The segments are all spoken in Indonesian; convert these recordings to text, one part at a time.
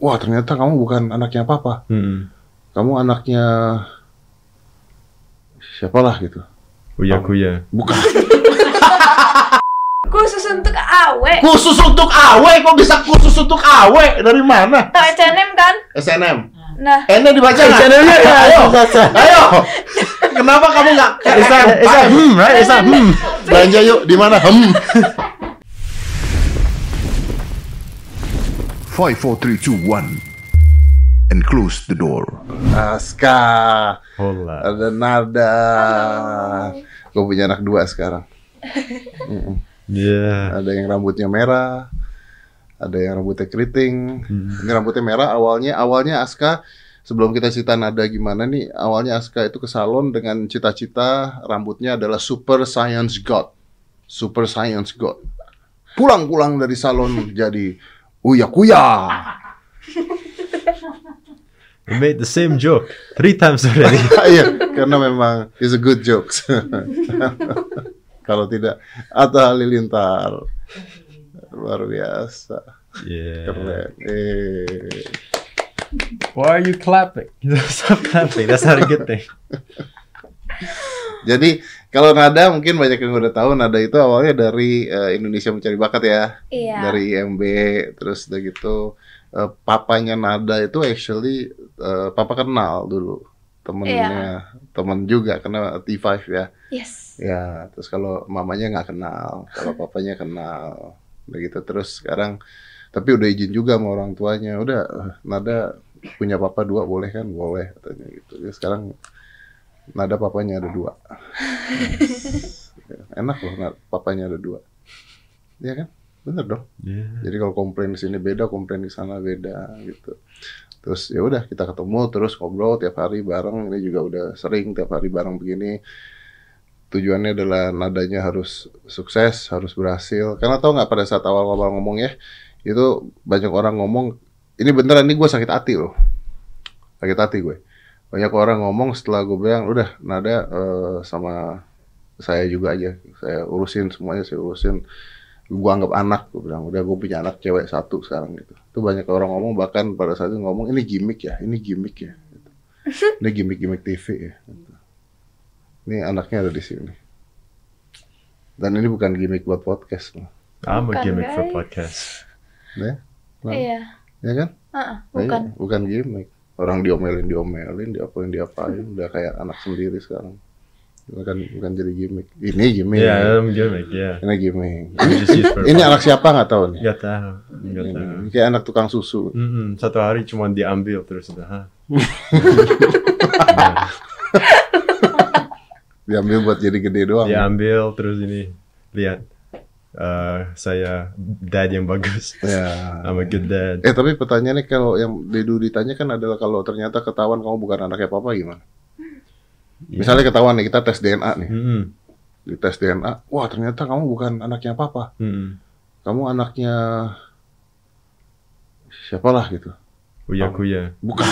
wah ternyata kamu bukan anaknya papa, Hmm. kamu anaknya siapalah gitu. Uya kuya. Bukan. Khusus untuk awe. khusus untuk awe, kok bisa khusus untuk awe? Dari mana? Tahu H&M kan? SNM. Nah, N dibaca nggak? ya? Ayo, ayo. Kenapa kamu nggak? Isa, Isa, hmm, right? Isa, hmm. Belanja yuk, di mana? Hmm. 5, 4, 3, 2, 1. And close the door. Aska, Hola. ada nada. Gue punya anak dua sekarang. Yeah. Ada yang rambutnya merah, ada yang rambutnya keriting. Ini rambutnya merah. Awalnya, awalnya Aska sebelum kita cerita nada gimana nih, awalnya Aska itu ke salon dengan cita-cita rambutnya adalah super science god, super science god. Pulang-pulang dari salon jadi uya kuya. We made the same joke three times already. Iya, karena memang is a good jokes. Kalau tidak, Atta Halilintar. Luar biasa, Yeah. keren. Eh. Why are you clapping? Stop clapping. That's not a good thing. Jadi kalau nada mungkin banyak yang udah tahu nada itu awalnya dari eh, Indonesia mencari bakat ya, iya. dari IMB terus udah gitu eh, papanya nada itu actually eh, papa kenal dulu temennya temen juga karena T5 ya. Yes. Ya, terus kalau mamanya nggak kenal, kalau papanya kenal, begitu terus sekarang. Tapi udah izin juga sama orang tuanya, udah eh, Nada punya papa dua boleh kan? Boleh katanya gitu. Jadi sekarang Nada papanya ada dua. Enak loh, Nada, papanya ada dua. Iya kan? Bener dong. Yeah. Jadi kalau komplain di sini beda, komplain di sana beda gitu. Terus ya udah kita ketemu terus ngobrol tiap hari bareng. Ini juga udah sering tiap hari bareng begini. Tujuannya adalah nadanya harus sukses, harus berhasil. Karena tau nggak pada saat awal-awal ngomong ya, itu banyak orang ngomong, ini beneran ini gue sakit hati loh. Sakit hati gue. Banyak orang ngomong setelah gue bilang, udah nada eh, sama saya juga aja. Saya urusin semuanya, saya urusin gue anggap anak gue bilang udah gue punya anak cewek satu sekarang gitu itu banyak orang ngomong bahkan pada saat itu ngomong ini gimmick ya ini gimmick ya gitu. ini gimmick gimmick TV ya gitu. ini anaknya ada di sini dan ini bukan gimmick buat podcast loh I'm a Bukan, gimmick for guys. podcast. ya Nah. Iya. ya kan Heeh, Nah, iya, bukan. bukan gimmick orang diomelin diomelin diapain diapain udah kayak anak sendiri sekarang bukan bukan jadi gimmick ini gimmick Yeah, I'm gimmick. Yeah. ini gimmick We just use for ini anak siapa nggak tahu nih Gak tahu. Gak tahu. Ini kayak anak tukang susu Mm-mm, satu hari cuma diambil terus udah. Hah? diambil buat jadi gede doang. Nah, Diambil terus ini lihat. Eh, saya dad yang bagus. Ya. I'm a good dad. Eh tapi pertanyaannya kalau yang Dedu ditanya kan adalah kalau ternyata ketahuan kamu bukan anaknya papa gimana? Eh, Misalnya ketahuan nih kita tes DNA nih, Mm-mm, di tes DNA, wah ternyata kamu bukan anaknya papa, mm-mm. kamu anaknya siapalah gitu. Uya kuya. Bukan.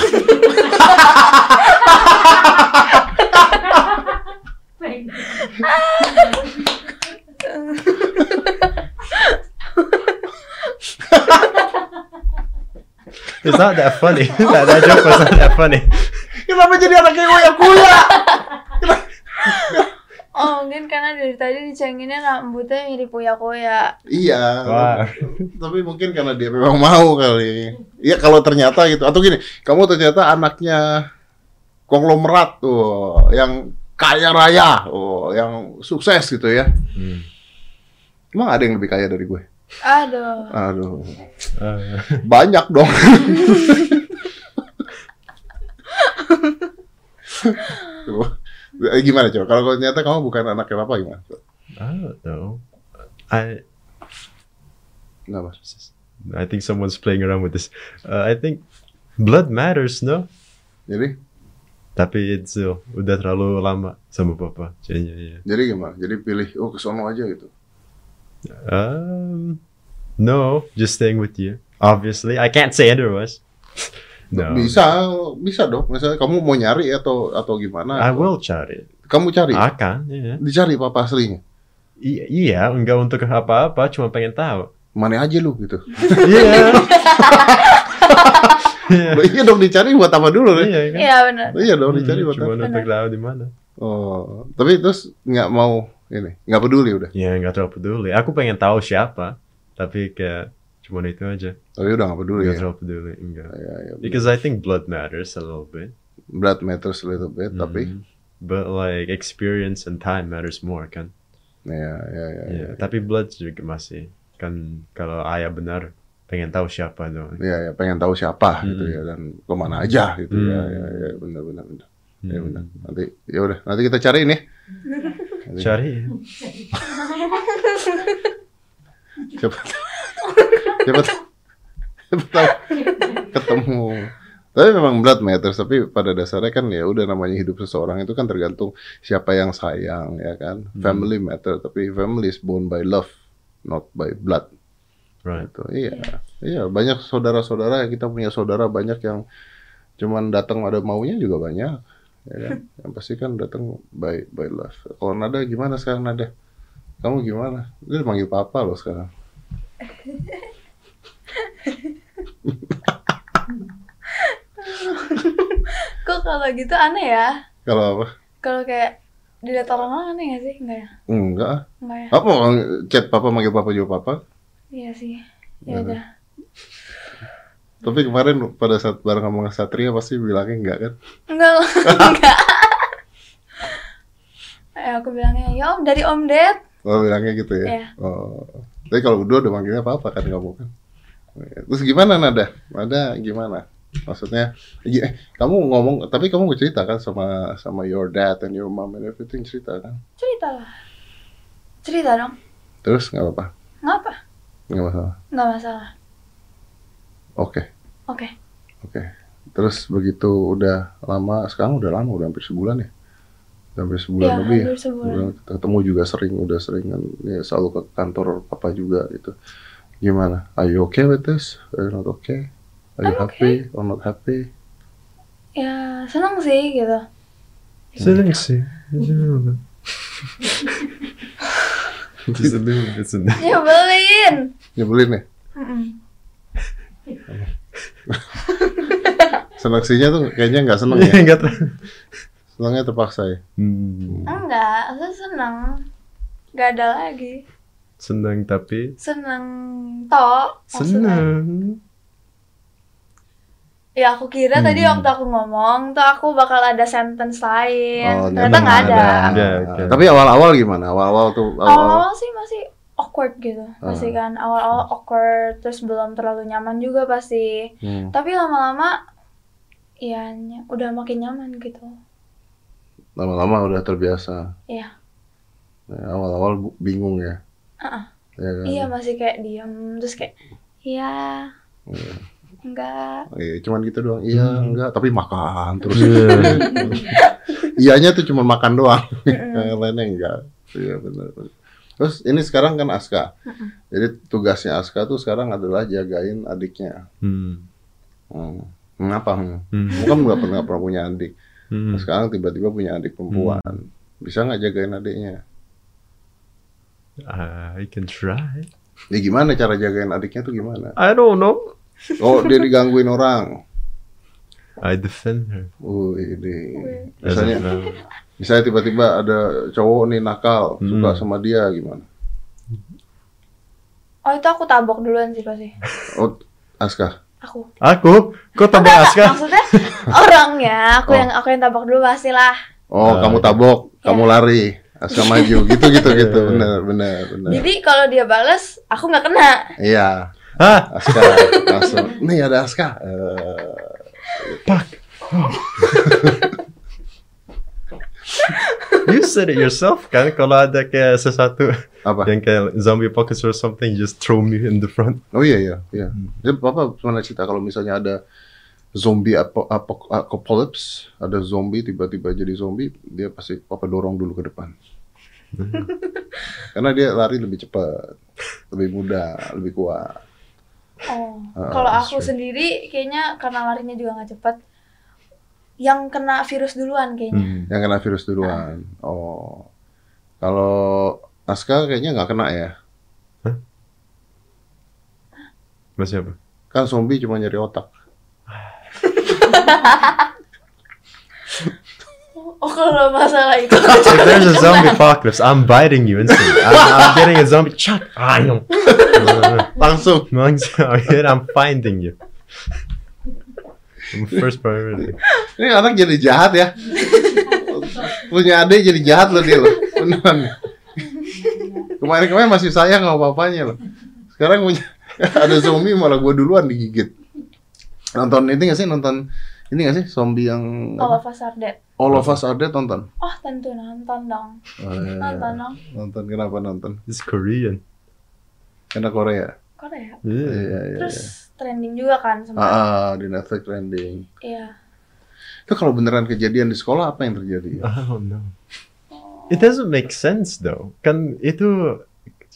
It's not that funny. that, that joke was not that funny. Kenapa jadi anaknya Uya Kuya? Iya. Oh, mungkin karena dari tadi dicenginnya rambutnya mirip Uya Koya. iya. Wah. Tapi mungkin karena dia memang mau kali. Iya kalau ternyata gitu. Atau gini, kamu ternyata anaknya konglomerat tuh, yang kaya raya, oh, yang sukses gitu ya. Mm. Emang ada yang lebih kaya dari gue? Aduh. Aduh, Uh, banyak dong. Coba. Eh, gimana coba? Kalau ternyata kamu bukan anaknya papa gimana? I don't know. I Kenapa? I think someone's playing around with this. Uh, I think blood matters, no? Jadi, Tapi it's still udah terlalu lama sama papa. Jadinya ya. jadi gimana? Jadi pilih, oh kesono aja gitu. Um, no, just staying with you. Obviously, I can't say otherwise. no, Bisa, bisa dong. Misalnya kamu mau nyari atau atau gimana? I will cari. Kamu cari, Akan, ya. dicari papa aslinya. I- iya, enggak untuk apa-apa, cuma pengen tahu. Mana aja lu gitu. Iya. Iya. iya dong dicari buat apa dulu nih? Iya kan? Iya benar. Iya dong Hmm, dicari buat Cuma apa? untuk tahu di mana. Oh, tapi terus nggak mau ini, nggak peduli udah. Ya nggak terlalu peduli. Aku pengen tahu siapa, tapi kayak cuma itu aja. Tapi udah nggak peduli Nggak ya. terlalu peduli. Enggak. Ya, ya. Because I think blood matters a little bit. Blood matters a little bit, tapi Hmm. But like experience and time matters more kan. ya ya ya. Iya, ya. Tapi blood juga masih kan kalau ayah benar pengen tahu siapa dong. Iya, ya, pengen tahu siapa gitu Hmm. ya dan kemana aja gitu ya, Hmm. ya, ya benar benar benar. Ya Hmm. benar. Nanti ya udah, nanti kita cariin ya. Nanti- Hmm. Cari. ya. Siapa tahu- siapa tahu- siapa tahu ketemu. Tapi memang blood matters, tapi pada dasarnya kan ya udah namanya hidup seseorang itu kan tergantung siapa yang sayang ya kan. Family matter, tapi family is born by love, not by blood. Right. Gitu. Iya. Iya, banyak saudara-saudara kita punya saudara banyak yang cuman datang ada maunya juga banyak. Ya kan? yang pasti kan datang by by love. Kalau Nada gimana sekarang Nada? Kamu gimana? Lu dipanggil papa loh sekarang. Kok kalau gitu aneh ya? Kalau apa? Kalau kayak dilihat orang orang aneh gak sih? Enggak ya? Enggak. ah. Enggak ya? Apa chat papa manggil papa juga papa? Iya sih. Ya udah. Tapi kemarin pada saat bareng sama Satria pasti bilangnya enggak kan? Enggak lah. Enggak. Eh, aku bilangnya, ya om dari om Ded. Oh, bilangnya gitu ya. Iya. Oh. Tapi kalau berdua udah manggilnya papa kan kamu kan. Terus gimana Nada? Nada gimana? Maksudnya i- eh, kamu ngomong tapi kamu cerita kan sama sama your dad and your mom and everything cerita kan? Cerita lah. Cerita dong. Terus nggak apa-apa. Ngapa? Nggak masalah. Enggak masalah. Oke. Oke. Oke. Terus begitu udah lama sekarang udah lama udah hampir sebulan ya. Udah hampir sebulan Iya, lebih ya. hampir sebulan. Udah ketemu juga sering udah sering kan ya, selalu ke kantor papa juga gitu. Gimana? Are you okay with this? Are you not okay? Are you I'm happy or not happy? Ya seneng sih gitu. Seneng sih. It's a little bit sedih. Nyebelin. Nyebelin ya? Mm-mm. Seleksinya tuh kayaknya nggak seneng ya. Iya, nggak terlalu. Senengnya terpaksa ya. Hmm, Enggak, saya seneng. Gak ada lagi. Seneng tapi Seneng toh. maksudnya. seneng. Ya aku kira tadi Hmm. waktu aku ngomong tuh aku bakal ada sentence Oh, lain. Iya, Ternyata nyebelin Nah, nggak ada. Oh, Oh. ada. oh. Oke. Tapi awal-awal gimana? Awal-awal tuh awal-awal. Awal-awal sih masih awkward gitu. Ah. Pasti kan awal-awal awkward terus belum terlalu nyaman juga pasti. Hmm. Tapi lama-lama ya ny- udah makin nyaman gitu. Lama-lama udah terbiasa. Iya. Ya, awal-awal bu- bingung ya. Heeh. Ya kan? Iya masih kayak diem terus kayak iya Iya. enggak Iya, cuman gitu doang. Iya, Hmm. enggak, tapi makan terus. Iya. Iyanya tuh cuma makan doang. Mm-mm. Yang lainnya enggak. Iya, benar. benar. Terus ini sekarang kan Aska. Jadi tugasnya Aska tuh sekarang adalah jagain adiknya. Hmm. Hmm. Kenapa? Hmm. Hmm. Kamu kan nggak pernah nggak pernah punya adik. Hmm. Sekarang tiba-tiba punya adik perempuan. Bisa nggak jagain adiknya? I can try. Ya gimana cara jagain adiknya tuh gimana? I don't know. Oh, dia digangguin orang. I defend her. Uh, uh, ini. I Misalnya, don't know. misalnya tiba-tiba ada cowok nih nakal, suka Hmm. sama dia gimana? oh itu aku tabok duluan sih pasti Oh, Aska. aku Aku, kok tambah aska? maksudnya orangnya aku Oh. yang aku yang tabok dulu pastilah Oh, Ah. kamu tabok, kamu lari. Aska maju, gitu gitu gitu. Iya. Benar, benar, benar. jadi kalau dia bales aku nggak kena Iya, Hah? Aska langsung. Nih ada Aska. Eh, Fuck. you said it yourself kan kalau ada kayak sesuatu apa? yang kayak zombie apocalypse or something just throw me in the front. Oh iya iya iya. Jadi Papa pernah cerita kalau misalnya ada zombie apo, apo- apocalypse, ada zombie tiba-tiba jadi zombie, dia pasti Papa dorong dulu ke depan. Karena dia lari lebih cepat, lebih mudah, lebih kuat. oh Ah, kalau that's aku right. sendiri kayaknya karena larinya juga nggak cepet yang kena virus duluan kayaknya Hmm. Yang kena virus duluan. Oh. Kalau Aska kayaknya nggak kena ya. Masih apa? Kan zombie cuma nyari otak. Hmm. Oh kalau masalah itu If there's a zombie apocalypse, I'm biting you instantly. I'm, I'm getting a zombie. Chuck, I am. Langsung. I'm finding you. I'm first priority. Ini orang jadi jahat ya. Punya adik jadi jahat loh dia loh. Beneran. Kemarin-kemarin masih sayang sama papanya loh. Sekarang punya ada zombie malah gua duluan digigit. Nonton ini gak sih nonton ini gak sih zombie yang All apa? of us are dead All of Us Are Dead nonton? Oh tentu nonton dong Eh, Nonton dong nonton kenapa nonton? It's Korean. Karena Korea. Korea Yeah. Iya iya. iya. Terus trending juga Ah, kan sempat ah, di Netflix trending. Iya Itu kalau beneran kejadian di sekolah apa yang terjadi? I don't know. Oh, It doesn't make sense though. Kan itu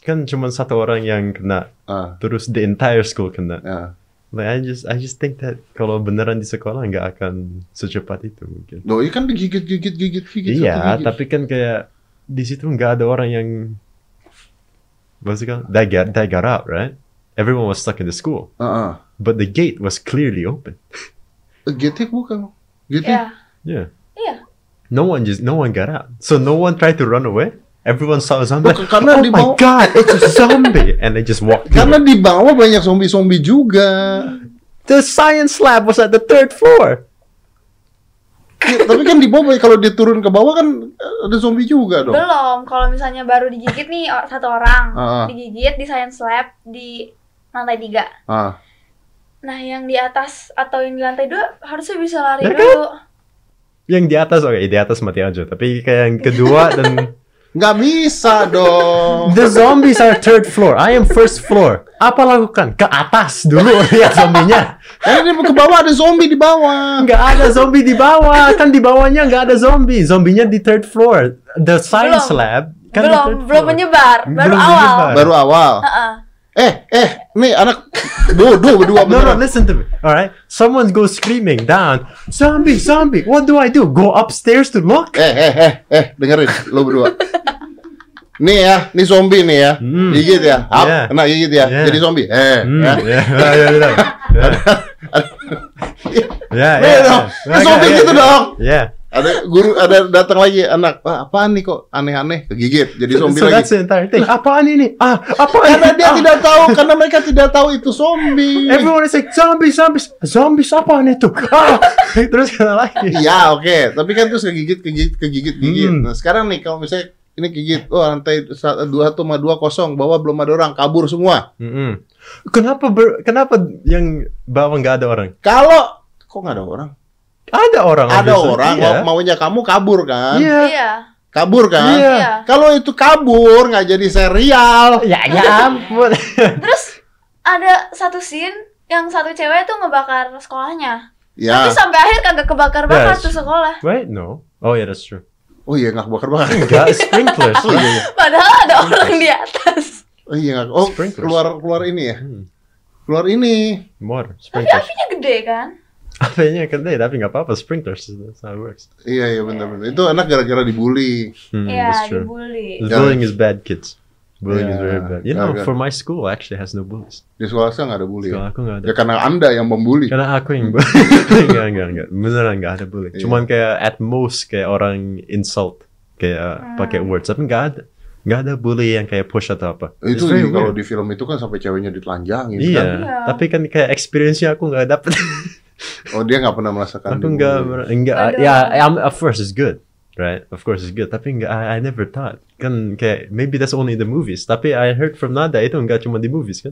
kan cuma satu orang yang kena. Ah, Terus the entire school kena. ah. Like I just I just think that kalau beneran di sekolah nggak akan secepat itu mungkin. Loh, iya kan digigit gigit gigit gigit. iya, satu gigit. tapi kan kayak di situ nggak ada orang yang maksudnya that got that got out right. Everyone was stuck in the school, Ah, ah. but the gate was clearly open. Getek bukan. Ya. Getek. Iya Yeah, Iya no one just no one got out, so no one tried to run away. Everyone saw a zombie. Bukan, like, karena oh di my bawah- god, it's a zombie, and they just walked. Karena di Through. bawah banyak zombie-zombie juga. Hmm. The science lab was at the third floor. Ya, tapi kan di bawah kalau dia turun ke bawah kan ada zombie juga Nah. dong. Belum Kalau misalnya baru digigit nih or- satu orang Ah, ah. Digigit di science lab Di lantai tiga Ah, Nah yang di atas atau yang di lantai dua harusnya bisa lari Ya kan? dulu Yang di atas oke, di atas mati aja. Tapi kayak yang kedua dan nggak bisa dong. The zombies are third floor. I am first floor. Apa lakukan? Ke atas dulu lihat zombinya. Karena dia ke bawah ada zombie di bawah. Nggak ada zombie di bawah. Kan di bawahnya nggak ada zombie. Zombinya di third floor. The science Belum. lab. Kan di belum third belum floor. menyebar baru Belum awal menyebar. Baru Ah. awal. Heeh. Eh, eh, nih anak bodoh berdua No, no, beneran. listen to me. All right, someone goes screaming down. Zombie, zombie. What do I do? Go upstairs to look? Eh, eh, eh, eh, dengerin lo berdua. Nih ya, nih zombie nih ya. Hmm. Gigit ya. Up, Iya. kena gigit ya. Iya. Jadi zombie. Eh, Hmm, ya. yeah, yeah, yeah, yeah. Yeah, Nih yeah, Eh, dong, yeah. zombie Yeah, gitu yeah, dong. Yeah. Ada guru ada datang lagi anak. Wah, apaan nih kok aneh-aneh kegigit jadi zombie so lagi. that's the entire thing. Apaan ini? Ah, apaan Karena ini? dia Ah. tidak tahu, karena mereka tidak tahu itu zombie. Everyone is like zombies, zombies, zombies apaan itu? Ah! Terus kena lagi. Iya, oke. Tapi kan terus kegigit, kegigit, kegigit, gigit. Hmm. Nah, sekarang nih kalau misalnya ini gigit, oh lantai sa- dua tuh sama dua kosong, bawah belum ada orang, kabur semua. Mm-mm. Kenapa ber- kenapa yang bawah nggak ada orang? Kalau kok nggak ada orang? Ada orang. Ada obviously. orang, Iya. mau- maunya kamu kabur kan? Iya. iya Kabur kan? Iya. iya Kalau itu kabur nggak jadi serial. Ya ya ampun. terus ada satu scene yang satu cewek tuh ngebakar sekolahnya tapi Ya. sampai akhir kagak kebakar bakar Ah. Yes. tuh sekolah Wait, no. Oh yeah, that's true. Oh iya nggak bakar bakar. Enggak sprinklers. Oh iya, iya. padahal ada orang di atas Oh iya nggak. Oh Sprinklers. keluar keluar ini ya. Hmm. Keluar ini. More tapi sprinklers. apinya gede kan Apanya kena tapi nggak apa-apa sprinklers. That's how it works. Iya iya benar-benar. Itu anak gara-gara dibully. Hmm, iya that's true. dibully Yeah. Bullying is bad, kids. Bullying is Yeah. very bad. You know, Okay. for my school actually has no bullies. Di sekolah saya nggak ada bully. Kalau aku nggak ada. Ya karena anda yang membuli. Karena aku yang boleh. enggak, enggak, enggak. Beneran enggak ada boleh. Iya. Cuman kayak at most kayak orang insult kayak pakai words tapi enggak ada. Enggak ada bully yang kayak push atau apa. It's Itu very di- kalau weird. di film itu kan sampai ceweknya ditelanjangin Iya, kan. Iya. tapi kan kayak experience-nya aku enggak dapet. Oh dia nggak pernah merasakan. aku dibully. enggak mer- enggak Ada. ya I'm, of course it's good. Right, of course it's good. Tapi enggak, I, I never thought. Kan kayak maybe that's only in the movies. Tapi I heard from Nada itu enggak cuma di movies kan?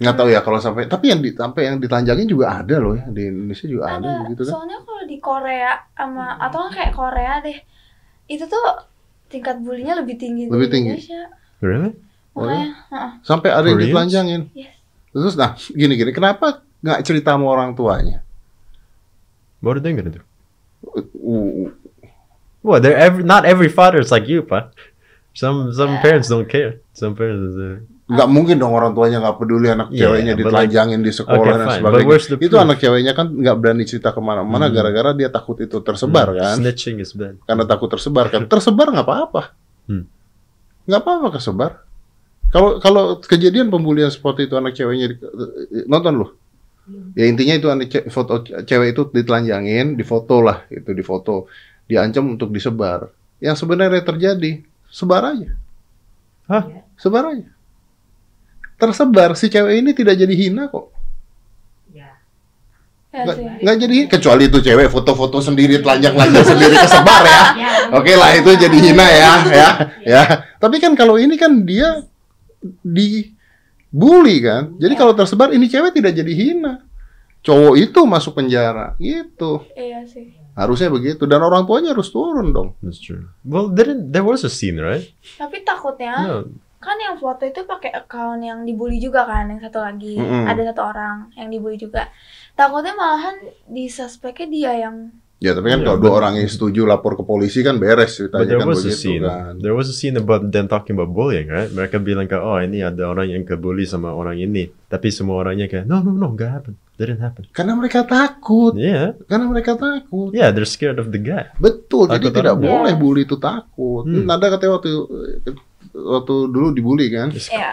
Nggak tahu ya kalau sampai. Tapi yang di, sampai yang ditelanjangin juga ada loh ya di Indonesia juga ada, ada begitu kan. soalnya kalau di Korea sama atau kayak Korea deh itu tuh tingkat bulinya lebih tinggi Lebih di tinggi. Oh, ya? Indonesia. Really? makanya heeh. Sampai ada yang Koreans? ditelanjangin. Yes. Terus nah gini-gini kenapa nggak cerita sama orang tuanya? What are they gonna do? Uh, uh, Well, they're every not every father is like you, pa. Some some Yeah. parents don't care. Some parents. Uh, nggak mungkin dong orang tuanya nggak peduli anak Iya, ceweknya but ditelanjangin di sekolah okay, dan fine, but where's sebagainya. the Itu proof? anak ceweknya kan nggak berani cerita kemana-mana Hmm. gara-gara dia takut itu tersebar kan. Mm, Snitching is bad. karena takut tersebar kan tersebar nggak apa-apa Hmm. nggak apa-apa kesebar kalau kalau kejadian pembulian seperti itu anak ceweknya di- nonton lu ya intinya itu ada ce- foto ce- cewek itu ditelanjangin difoto lah itu difoto diancam untuk disebar yang sebenarnya terjadi sebar aja Hah? sebar aja tersebar si cewek ini tidak jadi hina kok Ya Ya. nggak sih. nggak jadi hina. kecuali itu cewek foto-foto sendiri telanjang-telanjang sendiri kesebar ya Ya, Oke lah itu jadi hina ya, ya, ya. Tapi kan kalau ini kan dia dibully kan. Jadi kalau tersebar ini cewek tidak jadi hina. Cowok itu masuk penjara gitu. Iya sih. Harusnya begitu dan orang tuanya harus turun dong. That's true. Well, didn't there was a scene, right? Tapi takutnya No. kan yang foto itu pakai account yang dibully juga kan yang satu lagi. Mm-mm. Ada satu orang yang dibully juga. Takutnya malahan di suspeknya dia yang Ya tapi kan Iya, kalau dua but- orang yang setuju lapor ke polisi kan beres But ceritanya there kan was a begitu scene. kan. There was a scene about them talking about bullying, right? Mereka bilang kayak, oh ini ada orang yang kebully sama orang ini. Tapi semua orangnya kayak, no, no, no, nggak happen. Didn't happen. Karena mereka takut, Yeah, karena mereka takut. yeah, they're scared of the guy. Betul, jadi Takut tidak orangnya. boleh bully itu takut. Hmm. Nada katanya waktu waktu dulu dibully kan. Just- ya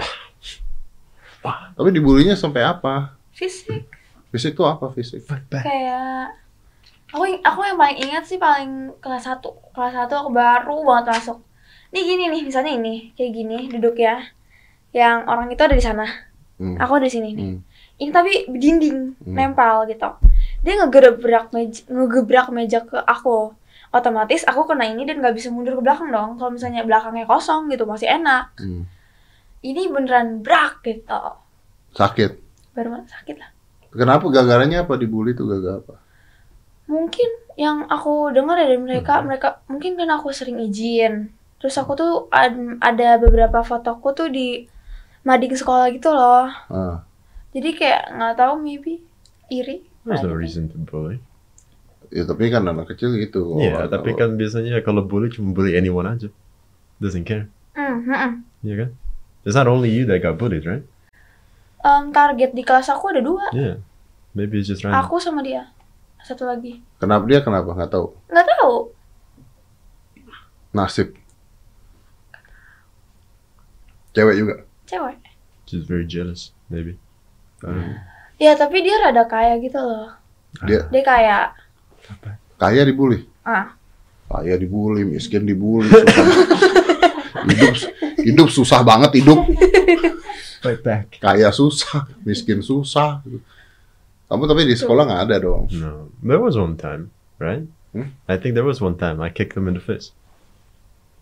Tapi dibulinya sampai apa? fisik Fisik tuh apa fisik? Fight back. kayak aku ing- aku yang paling ingat sih paling kelas 1. Kelas 1 aku baru banget masuk. Ini gini nih misalnya ini kayak gini duduk ya. Yang orang itu ada di sana. Hmm. Aku ada di sini nih. Hmm. ini tapi dinding Hmm. nempel gitu dia ngegebrak meja ngegebrak meja ke aku otomatis aku kena ini dan nggak bisa mundur ke belakang dong kalau misalnya belakangnya kosong gitu masih enak Hmm. ini beneran brak gitu Sakit. baru ma- sakit lah Kenapa gagarannya apa dibully tuh gagal apa? mungkin yang aku dengar dari mereka Hmm. mereka mungkin karena aku sering izin terus aku tuh ad- ada beberapa fotoku tuh di mading sekolah gitu loh Ah. jadi kayak nggak tahu maybe iri gitu. There's no reason to bully. Ya tapi kan anak kecil gitu. Iya, Kalau- tapi kan biasanya kalau bully cuma bully anyone aja. Doesn't care. Hmm, hmm, hmm. Iya kan? It's not only you that got bullied, right? Em, target di kelas aku ada dua Yeah. Maybe it's just random. Aku sama dia. Satu lagi. Kenapa dia kenapa nggak tahu? Nggak tahu. Nasib. Cewek juga. Cewek. She's very jealous, maybe. I don't know. Ya, tapi dia rada kaya gitu loh. Ah. Dia Dia kaya. kaya dibully. Ah. Kaya dibully, miskin dibully. susah. hidup hidup susah banget hidup. Fight back. Kaya susah, miskin susah. Kamu tapi di sekolah nggak ada dong. No, there was one time, right? Hmm? I think there was one time I kicked him in the face.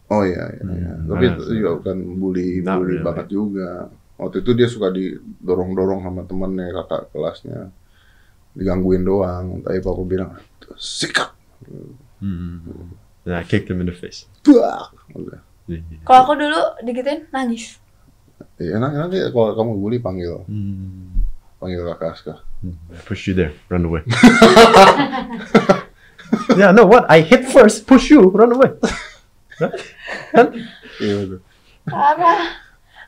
Oh iya, iya, Hmm, iya. tapi mana itu sih? juga bukan bully, Nah, bully iya, banget juga. Waktu itu dia suka didorong-dorong sama temennya kakak kelasnya, digangguin doang. Tapi aku bilang sikat, mm And I kicked him in the face. buak. Udah. Kalau aku dulu digituin nangis. Ya, nanti, nanti kalau kamu bully panggil, Mm. panggil kakak Aska. I pushed you there. Run away. yeah, no, what? I hit first, push you, run away. Iya betul. Parah.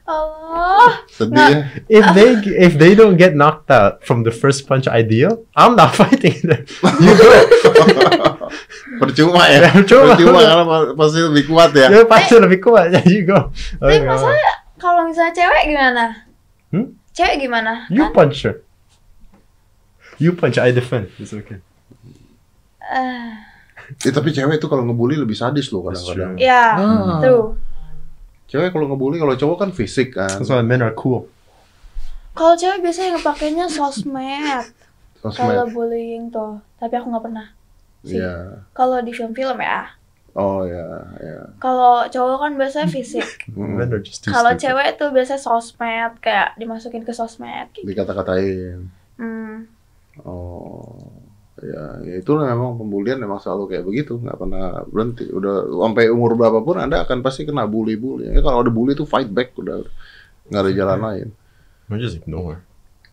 Allah. Sedih Nah. ya. If they if they don't get knocked out from the first punch I deal, I'm not fighting them. You do it. Percuma ya. Percuma. Iya. Percuma karena pa- pasti lebih kuat ya. You're pasti lebih kuat. Yeah, you go. Oh, Okay, Tapi masalah kalau misalnya cewek gimana? Hmm? Cewek gimana? You Kan, punch her. You punch, I defend. It's okay. eh, Eh, tapi cewek itu kalau ngebully lebih sadis loh That's kadang-kadang. ya, Ah. true. Cewek kalau ngebully, kalau cowok kan fisik kan. That's why men are cool. Kalau cewek biasanya ngepakainya sosmed. Kalau Sosmed. bullying tuh. Tapi aku nggak pernah. sih. Iya. Kalau di film-film ya. Oh ya, ya. Kalau cowok kan biasanya fisik. Mm. Men are just too Kalau stupid. cewek tuh biasanya sosmed kayak dimasukin ke sosmed. kayak Dikata-katain. Hmm. Oh, ya, ya itu memang pembulian memang selalu kayak begitu, nggak pernah berhenti. Udah sampai umur berapapun Anda akan pasti kena bully-bully. Ya, kalau ada bully itu fight back udah nggak ada jalan Iya. lain. Or just ignore.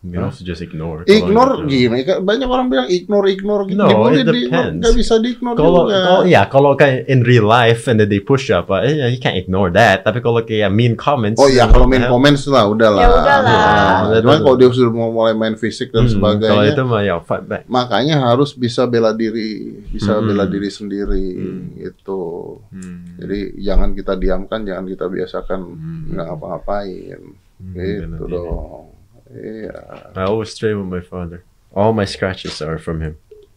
You can Huh? also just ignore. Ignore Kalau- gini, kan banyak orang bilang ignore ignore No, dibully it di- depends. nggak bisa diignore Kalau juga. kalau ya kalau kayak in real life and then they push up, uh, yeah, you can't ignore that. Tapi kalau kayak mean comments. Oh iya, then kalau what the main hell? comments lah udahlah. Ya udahlah. Nah, cuman kalau dia sudah mau mulai main fisik dan Iya, Hmm, Kalau sebagainya, itu mah ya fight back. makanya harus bisa bela diri, bisa Hmm. bela diri sendiri Hmm. gitu. Hmm. Jadi jangan kita diamkan, jangan kita biasakan Hmm. nggak ngapa-ngapain. Hmm, gitu benar. dong. Iya. I always stray with my father. All my scratches are from him.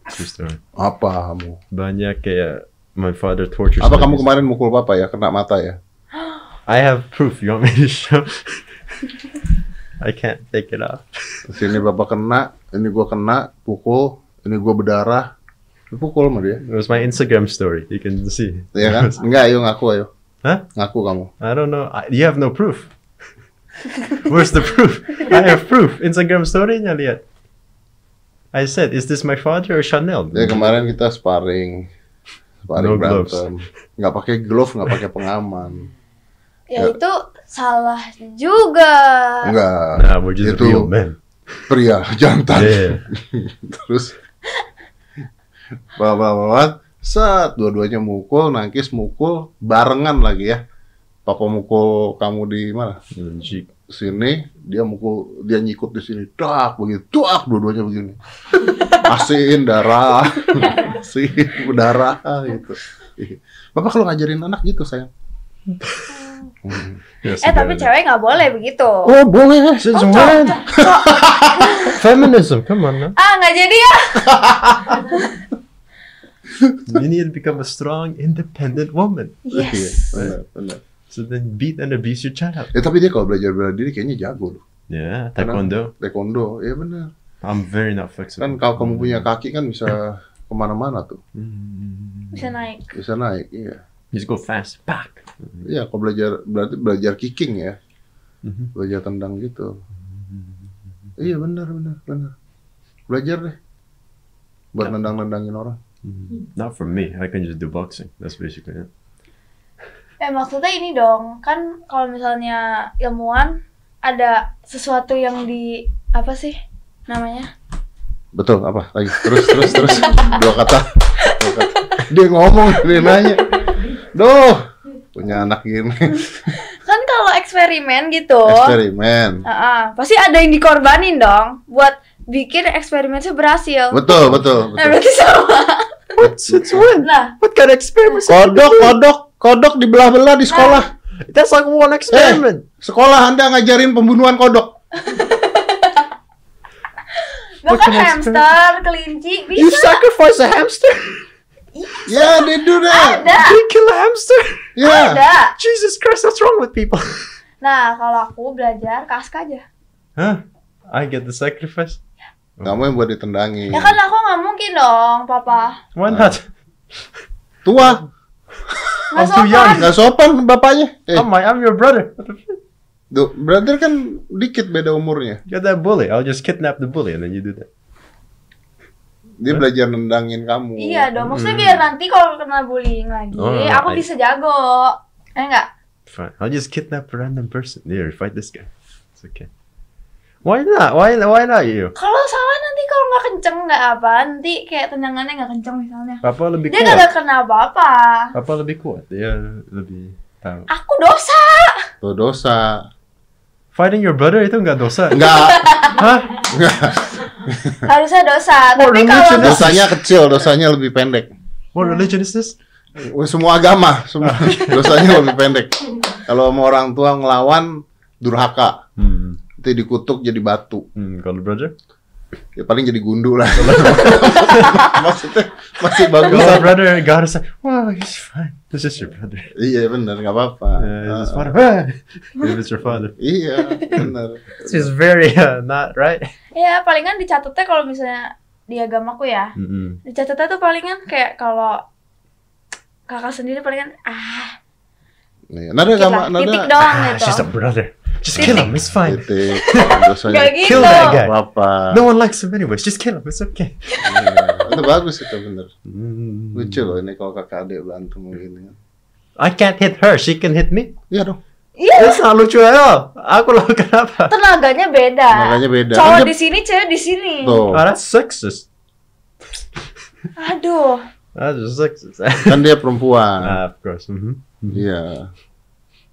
True story. Apa kamu? Banyak kayak uh, my father tortures. Apa my kamu business. kemarin mukul papa ya? Kena mata ya? I have proof. You want me to show? I can't take it off. Terus ini bapak kena, ini gua kena, pukul, ini gua berdarah. Dipukul sama dia. It was my Instagram story. You can see. Iya kan? Enggak, ayo ngaku ayo. Hah? Ngaku kamu. I don't know. I, you have no proof. Where's the proof? I have proof. Instagram story nya lihat. I said, is this my father or Chanel? Ya kemarin kita sparring. Sparring No gloves. berantem. Enggak pakai glove, enggak pakai pengaman. Ya Ya. itu salah juga. Enggak. Nah, we're just Itu- real men. Pria jantan. Yeah. Terus bawa bawa bawa, set dua-duanya mukul, nangkis mukul, barengan lagi ya. Papa mukul kamu di mana? And she- sini dia mukul dia nyikut di sini tak begitu tak dua-duanya begini asin darah asin darah gitu bapak kalau ngajarin anak gitu sayang Hmm. Yes, Eh tapi yeah. cewek nggak boleh begitu. Oh, boleh. She's Oh, mad. Feminism. Come on now. Ah nggak jadi ya? You need to become a strong, independent woman. Iya, Yes. benar, benar. So then beat and abuse your child. Eh, tapi dia kalau belajar bela diri kayaknya jago loh. Yeah, Karena- taekwondo. Taekwondo, ya benar. I'm very not flexible. Kan kalau kamu punya kaki kan bisa kemana-mana tuh, Mm. Bisa naik. bisa naik. Iya, Just go fast. Back. iya. Kalau belajar berarti belajar kicking ya, Mhm. belajar tendang gitu. Iya benar, benar, benar. Belajar deh buat nendang-nendangin orang. Mhm. Not for me. I can just do boxing. That's basically it. Eh maksudnya ini dong kan kalau misalnya ilmuwan ada sesuatu yang di apa sih namanya? Betul, apa lagi? Terus, terus, terus. Dua kata. Dua kata. Dia ngomong, dia nanya. Duh, punya anak gini. Kan kalau eksperimen gitu. Eksperimen. Ah, ah, pasti ada yang dikorbanin dong buat bikin eksperimen itu berhasil. Betul, betul, betul. Nah, berarti sama. Since when? Nah, What kind of experiment? Kodok, kodok, kodok dibelah-belah di nah, sekolah. That's like one experiment. Sekolah Anda ngajarin pembunuhan kodok. bahkan Bukan hamster, kelinci You bisa. sacrifice a hamster? Ya, they do that. Ada, You kill a hamster? Ya. ada. Jesus Christ, what's wrong with people? Nah, kalau aku belajar kask aja. Ya Huh? I get the sacrifice? Kamu yang buat ditendangin. Ya kan aku nggak mungkin dong, papa. Why not? Tua, Nggak I'm too young. sopan. nggak sopan bapaknya. Eh, I'm, my, I'm your brother. Duh, brother kan dikit beda umurnya. You're that bully. I'll just kidnap the bully and then you do that. Dia belajar nendangin kamu. Iya dong, maksudnya biar nanti kalau kena bullying lagi, Hmm. Oh, no, no, aku I- bisa jago. Eh enggak? Fine. I'll just kidnap a random person. Here, fight this guy. It's okay. Why not? Why why not you? Kalau salah nanti kalau nggak kenceng nggak apa, nanti kayak tendangannya nggak kenceng misalnya. Papa lebih Dia kuat. kagak kena apa-apa. Papa lebih kuat. Dia lebih tahu. Aku dosa. Tuh dosa. Fighting your brother itu nggak dosa. Enggak, Hah? Harusnya dosa. Tapi religion kalau is- dosanya kecil, dosanya lebih pendek. Oh, What religion is this? Semua agama, semua dosanya lebih pendek. Kalau sama orang tua ngelawan durhaka, Hmm. nanti dikutuk jadi batu. Hmm, kalau brother? Ya paling jadi gundu lah. Maksudnya masih bagus. Kalau brother gak harus Wow, he's fine. This is your brother. Iya benar, nggak apa-apa. Uh, is his father? Ah, If it's your father. Iya benar. This is very uh, not right. Ya palingan dicatatnya kalau misalnya di agamaku ya. Mm-mm. Dicatatnya tuh palingan kayak kalau kakak sendiri palingan ah Nih, Nada dikit agama, lah, titik nada. Iya, doang Ah, gitu. she's a brother. Just kill him. It's fine. Titik. Gak Dosanya gitu. Kill that guy. apa-apa. No one likes him anyways. Just kill him. It's okay. Iya, itu bagus itu bener Mm. lucu loh ini kalau kakak adik berantem begini I can't hit her. She can hit me. iya dong Iya, That's not lucu at all. Aku lakukan apa? tenaganya beda. Tenaganya beda. Iya. Cowok Kan dia- di sini, cewek di sini. tuh Oh, that's sexist. Aduh. That's just sexist. kan dia perempuan Ah, of course. Mhm. iya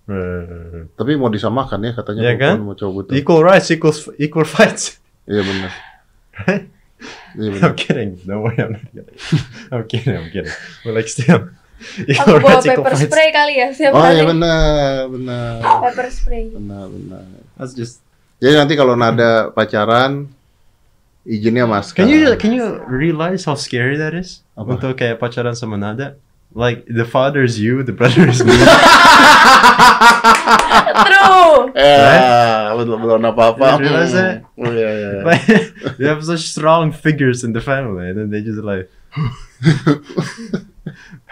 Uh, tapi mau disamakan ya katanya Iya perempuan kan? mau cowok butuh equal rights equals equal fights. iya bener iya bener I'm kidding. Don't worry, I'm not kidding. I'm kidding. I'm kidding. But like still, Aku equal bawa rights equal paper fights. spray kali ya siap oh kali. iya bener bener Paper spray. bener bener That's just jadi nanti kalau nada pacaran izinnya masker. Can you can you realize how scary that is? Apa? Untuk kayak pacaran sama Nada. Like the father is you, the brother is me. True. Eh, lu belum belum apa-apa. You realize Hmm. that? Oh, Iya, iya. iya. like, they have such strong figures in the family, and then they just like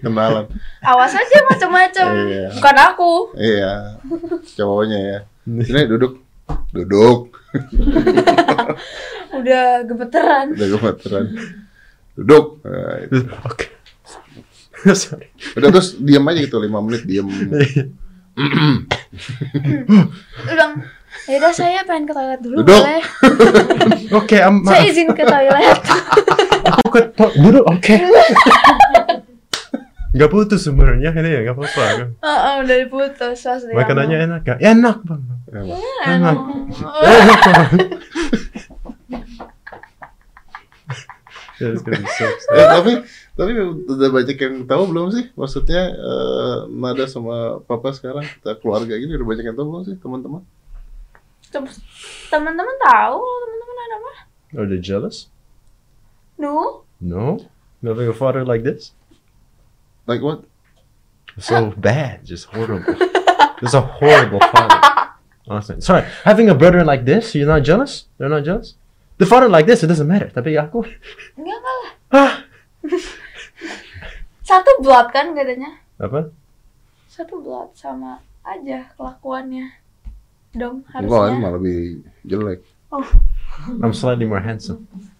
Kenalan. Awas aja macam-macam. Iya. Bukan aku. Iya. Cowoknya ya. Sini duduk. Duduk. Udah gemeteran. Udah gemeteran. Duduk. Nah, itu. okay. Sorry. Udah terus diam aja gitu 5 menit diam. Ulang. Ya udah saya pengen ke toilet dulu Duduk. boleh. okay, I'm. Saya izin ke toilet. Aku kok duduk, oke. Gak putus sebenarnya ini ya, gak apa-apa. Heeh, Oh, udah diputus Nah, pas dia Makanannya enak gak? Enak bang. ngomong. eh, Enak bang. That's gonna be so sad. Eh, tapi tapi udah banyak yang tahu belum sih? Maksudnya eh, Nada sama Papa sekarang kita keluarga gini udah banyak yang tahu belum sih teman-teman? Tem- Teman-teman tahu, teman-teman ada apa? Are they jealous? No. No. Having a father like this? Like what? so bad, just horrible. It's a horrible father. Honestly. Sorry, having a brother like this, you're not jealous? They're not jealous? The father like this, it doesn't matter. Tapi aku, Enggak enggak lah. ah, Satu blood kan katanya. apa? Satu blood sama aja kelakuannya. Dong Enggak, ini harusnya. malah lebih jelek. I'm slightly more handsome. Mm-hmm.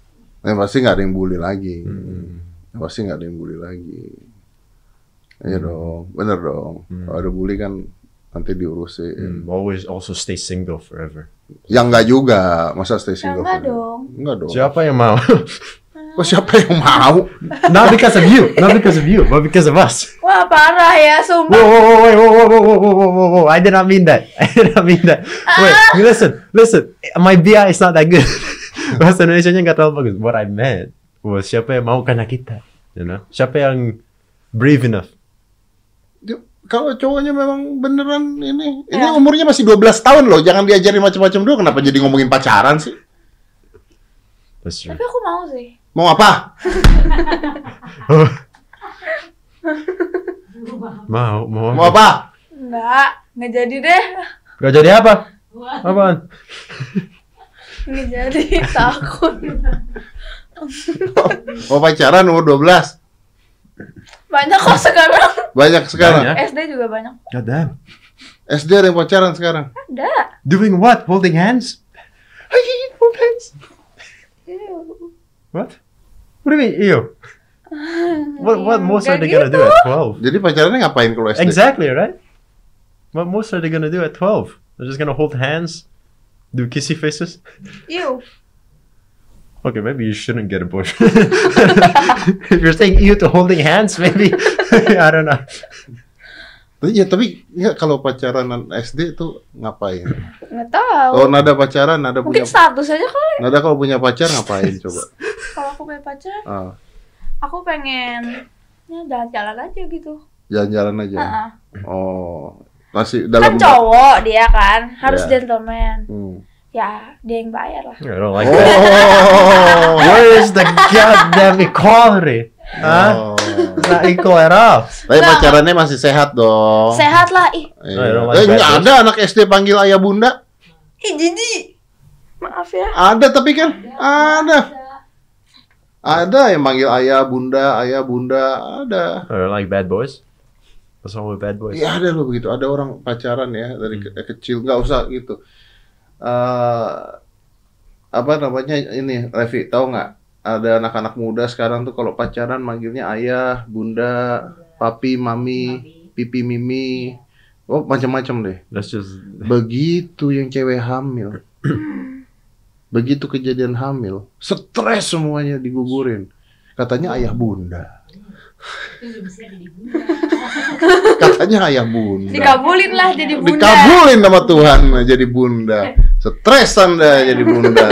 Yang Eh, pasti nggak ada yang bully lagi. Hmm. Yang pasti nggak ada yang bully lagi. Iya dong, bener dong. Kalau ada bully kan nanti diurusin. Mm, always also stay single forever. Yang Ya, nggak juga, masa stay Ya single? enggak forever? dong. Enggak dong. Siapa yang mau? Kok siapa yang mau? not because of you, not because of you, but because of us. Wah parah ya, Whoa, sumpah. whoa, whoa, wait, whoa, whoa, whoa, whoa, whoa, whoa, whoa! I did not mean that. I did not mean that. Wait, you listen, listen. My BI is not that good. Bahasa Indonesia-nya nggak terlalu bagus. What I meant was siapa yang mau karena kita, you know? Siapa yang brave enough? Dia- Kalau cowoknya memang beneran ini, ini Ya. umurnya masih 12 tahun loh. Jangan diajarin macam-macam dulu. Kenapa jadi ngomongin pacaran sih? That's true. Tapi aku mau sih. Mau apa? Oh. mau, mau. Mau apa? Enggak, enggak jadi deh. Gak jadi apa? Apaan? Enggak jadi, takut. Mau pacaran umur 12? Banyak kok sekarang. Banyak sekarang. Banyak. SD juga banyak. God damn. SD ada yang pacaran sekarang. Ada. Doing what? Holding hands? Hold hands. Ew. What? What do you mean? Ew. What? What? Most are Nggak they gonna do gitu. at twelve? Jadi pacarannya ngapain kalau SD? Exactly, right? What most are they gonna do at 12? They're just gonna hold hands, do kissy faces? Ew. Okay, maybe you shouldn't get a boyfriend. if you're saying you to holding hands, maybe. I don't know. Iya, tapi ya, kalau pacaran SD itu ngapain? Nggak tahu. Oh, Kalau nada pacaran, iya, nada punya Mungkin status aja kali. nada kalau punya pacar ngapain coba? Kalau aku punya pacar, Ah, aku pengen ya jalan-jalan aja gitu. jalan-jalan Iya. aja. Heeh. Oh, masih Ah. dalam Kan cowok dia kan, Iya. harus Ya. gentleman. Hmm. Ya, dia yang bayar lah. I don't like that. Oh. Where is the goddamn equality? Oh. Huh? It's not equal at all. Tapi pacarannya masih sehat Oh. dong. Sehat lah, ih. Iya. I don't like Eh, that. nggak ada anak SD panggil ayah bunda? Ih, jijik. Maaf ya. Ada tapi kan? Ada. Ada yang manggil ayah, bunda, ayah, bunda, ada. I don't like bad boys. What's wrong with bad boys? Iya ada loh begitu. Ada orang pacaran ya dari ke- kecil nggak usah gitu. Eh apa namanya ini Revi tahu nggak? Ada anak-anak muda sekarang tuh kalau pacaran manggilnya ayah, bunda, papi, mami, pipi, mimi. Oh macam-macam deh. That's just. Begitu yang cewek hamil. Begitu kejadian hamil, stres semuanya digugurin. Katanya ayah bunda. Katanya ayah bunda Dikabulin lah jadi bunda. dikabulin sama Tuhan jadi bunda stres anda jadi bunda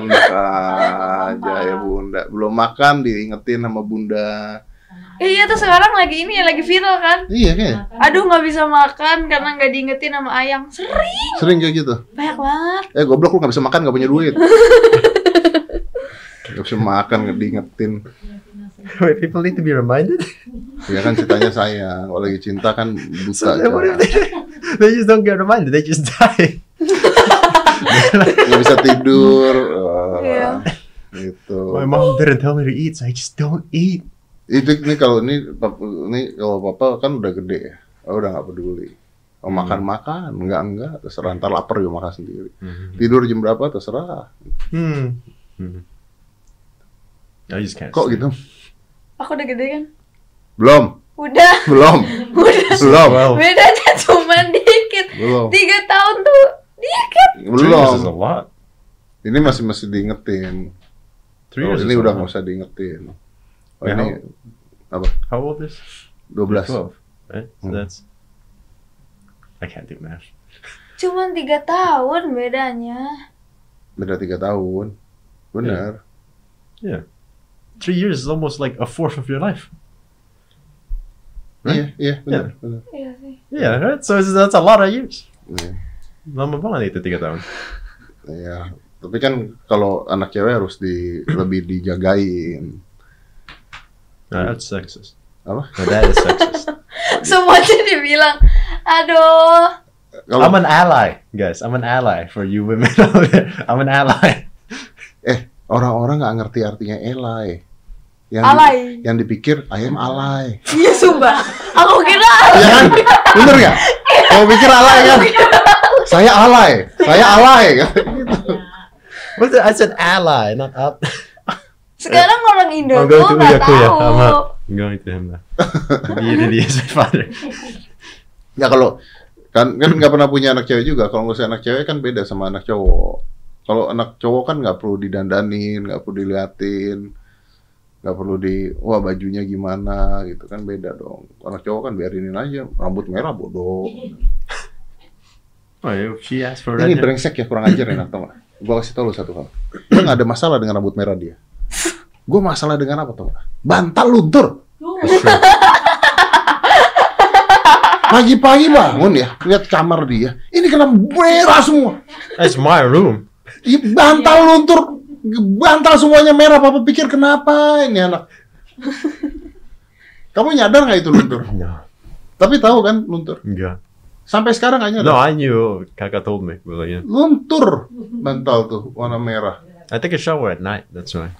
enak aja ya bunda belum makan diingetin sama bunda Iya tuh sekarang lagi ini ya lagi viral kan. iya kayak Aduh nggak bisa makan karena nggak diingetin sama ayang. Sering sering kayak gitu banyak banget. eh goblok lu nggak bisa makan nggak punya duit Gak bisa makan, nggak diingetin. Wait, people need to be reminded. Ya kan ceritanya sayang. Kalau lagi cinta kan So buta. then what if kan. they, they just don't get reminded? They just die. Nggak bisa tidur. eh, Iya. Gitu. My mom didn't tell me to eat, so I just don't eat. Itu ini kalau ini pap- ini kalau papa kan udah gede ya. Oh, udah nggak peduli. Oh, makan makan, enggak enggak terserah ntar lapar juga makan sendiri. Mm-hmm. Tidur jam berapa terserah. Hmm. I just can't. Kok gitu? Aku udah gede kan? Belum, Udah, belum, udah. belum, Well, Bedanya cuma dikit. belum, Tiga tahun tuh dikit. three years is a belum. lot. Ini masih masih diingetin. Three Oh, years ini is a udah lot. nggak usah diingetin. Oh, Ya, ini How old is? 12. Twelve. Right. So Hmm. that's. I can't do math. Cuma tiga tahun bedanya. Beda 3 tahun. Benar. Three years is almost like a fourth of your life. Iya, iya, benar, benar. Iya sih. Yeah, right. So it's, that's a lot of years. Iya. Lama banget itu tiga tahun. Iya. Tapi kan kalau anak cewek harus di lebih dijagain. Nah, that's sexist. Apa? No, that is sexist. Semuanya dibilang, aduh. Kalau I'm an ally, guys. I'm an ally for you women out there. I'm an ally. orang-orang nggak ngerti artinya elai. Yang di- Alay. yang dipikir I am alay. Iya sumpah. Aku kira Iya kan? Bener nggak? Mau pikir alay kan? Saya alay. Saya alay kan? Gitu. What's it? I said ally, not up. sekarang orang Indo I'm tuh going to nggak Uyakuya. tahu. I'm up. I'm going to him now. he really is my father. Ya kalau kan kan nggak pernah punya anak cewek juga. Kalau ngurusin anak cewek kan beda sama anak cowok. Kalau anak cowok kan nggak perlu didandanin, nggak perlu diliatin, nggak perlu di wah bajunya gimana gitu kan beda dong. Anak cowok kan biarinin aja rambut merah bodoh. Oh, if she asked for Ini red. hair- brengsek ya kurang ajar ya tau gak? Gue kasih tau lu satu hal. Lu gak ada masalah dengan rambut merah dia. Gue masalah dengan apa tau gak? Bantal luntur. Pagi-pagi bangun ya, lihat kamar dia. Ini kena merah semua. That's my room. Ih, Bantal luntur, bantal semuanya merah. Papa pikir kenapa ini anak? Kamu nyadar nggak itu luntur? No, Tapi tahu kan luntur. God. Sampai sekarang nggak nyadar. No, I knew. Kaka told me. Well, yeah. Luntur bantal tuh warna merah. I take a shower at night. That's why.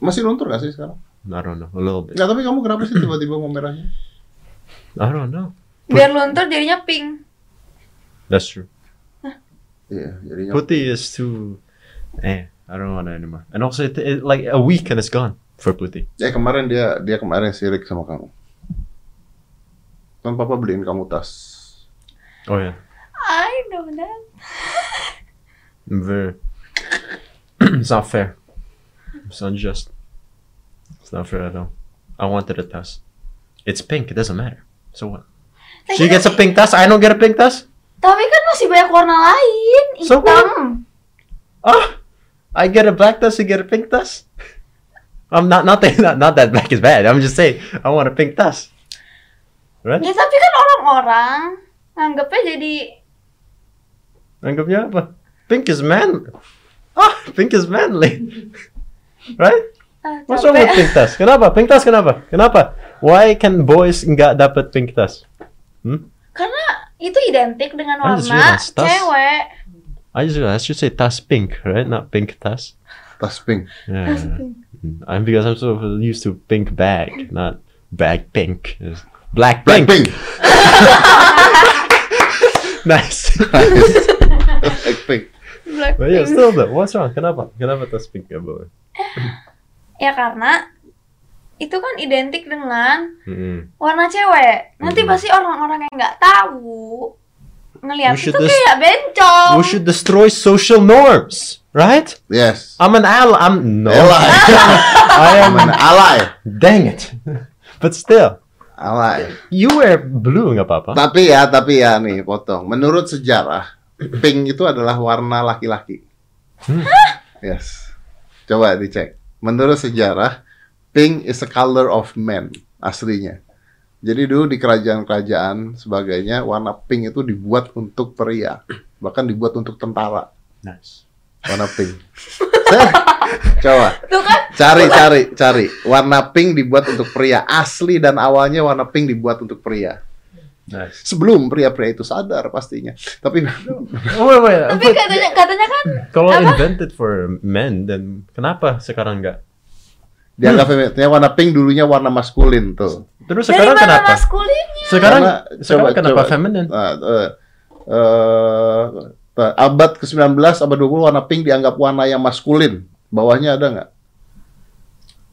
Masih luntur nggak sih sekarang? I don't know. A little bit. Nggak, tapi kamu kenapa sih tiba-tiba mau merahnya? I don't know. Biar luntur jadinya pink. That's true. Iya, jadinya Putty is too. Eh, I don't want it anymore. And also, it, it like a week and it's gone for Putty. Eh kemarin dia dia kemarin sirik sama kamu. Kan papa beliin kamu tas. Oh yeah, I know that. I'm very. it's not fair. It's unjust. It's not fair at all. I wanted a tuss. It's pink. It doesn't matter. So what? She gets a pink tuss. I don't get a pink tuss. Tapi kan masih banyak warna lain. So Hitam. Ah, I get a black tuss. You get a pink tuss. I'm not not that not, not that black is bad. I'm just saying I want a pink tuss. ya Right? tapi kan orang-orang nganggepnya jadi Anggapnya apa? Pink is manly. Ah, pink is manly. right? ah, What's wrong with capek. pink tas? Kenapa? Pink tas kenapa? Kenapa? Why can boys nggak dapat pink tas? Karena itu identik dengan I just warna realized tas. cewek. I just realized I should say tas pink, right? Not pink tas. Tas pink. Yeah. I'm because I'm so used to pink bag, not bag pink. It's black pink. Black pink. Nice. Black pink. but yeah, Blackpink. still though, what's wrong? Kenapa? Kenapa tas pink nggak boleh? Ya karena itu kan identik dengan Mm-mm. warna cewek. Nanti Hmm. pasti orang-orang yang nggak tahu ngelihat We itu should just- kayak bencong. We should destroy social norms, right? Yes. I'm an ally. I'm no. Alay. I am. Mana alay? Dang it. But still, Alay. you wear blue nggak apa-apa. Tapi ya, tapi ya nih potong. Menurut sejarah, pink itu adalah warna laki-laki. Hmm. Yes. Coba dicek. Menurut sejarah, pink is a color of men aslinya. Jadi dulu di kerajaan-kerajaan sebagainya warna pink itu dibuat untuk pria, bahkan dibuat untuk tentara. Nice. warna pink. Saya- Coba Tuh kan? cari cari cari warna pink dibuat untuk pria asli dan awalnya warna pink dibuat untuk pria. Nice. Sebelum pria-pria itu sadar pastinya. Tapi Oh, wait, wait. Tapi but katanya katanya kan Kalau apa? invented for men, then kenapa sekarang nggak? dianggap feminisnya warna pink dulunya warna maskulin tuh. Terus dari sekarang mana kenapa? maskulinnya? Sekarang, Karena- sekarang coba- kenapa coba. feminin? Nah, eh, eh, eh, abad ke-19, abad 20 warna pink dianggap warna yang maskulin. Bawahnya ada nggak?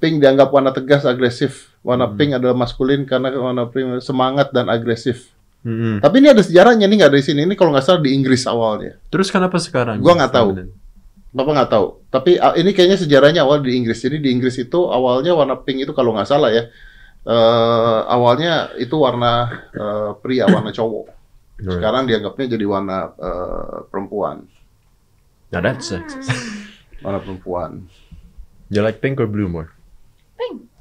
Pink dianggap warna tegas, agresif. Warna pink adalah maskulin karena warna pink semangat dan agresif. Mm-mm. Tapi ini ada sejarahnya nih nggak dari sini. Ini kalau nggak salah di Inggris awalnya. Terus kenapa sekarang? Gua nggak tahu. feminin? Bapak nggak tahu. Tapi ah, ini kayaknya sejarahnya awal di Inggris. Jadi di Inggris itu awalnya warna pink itu kalau nggak salah ya. eh, awalnya itu warna eh, pria, warna cowok. Hmm. Sekarang dianggapnya jadi warna eh, perempuan, Now that's sexist. Hmm. warna perempuan. You like pink or blue more? Pink.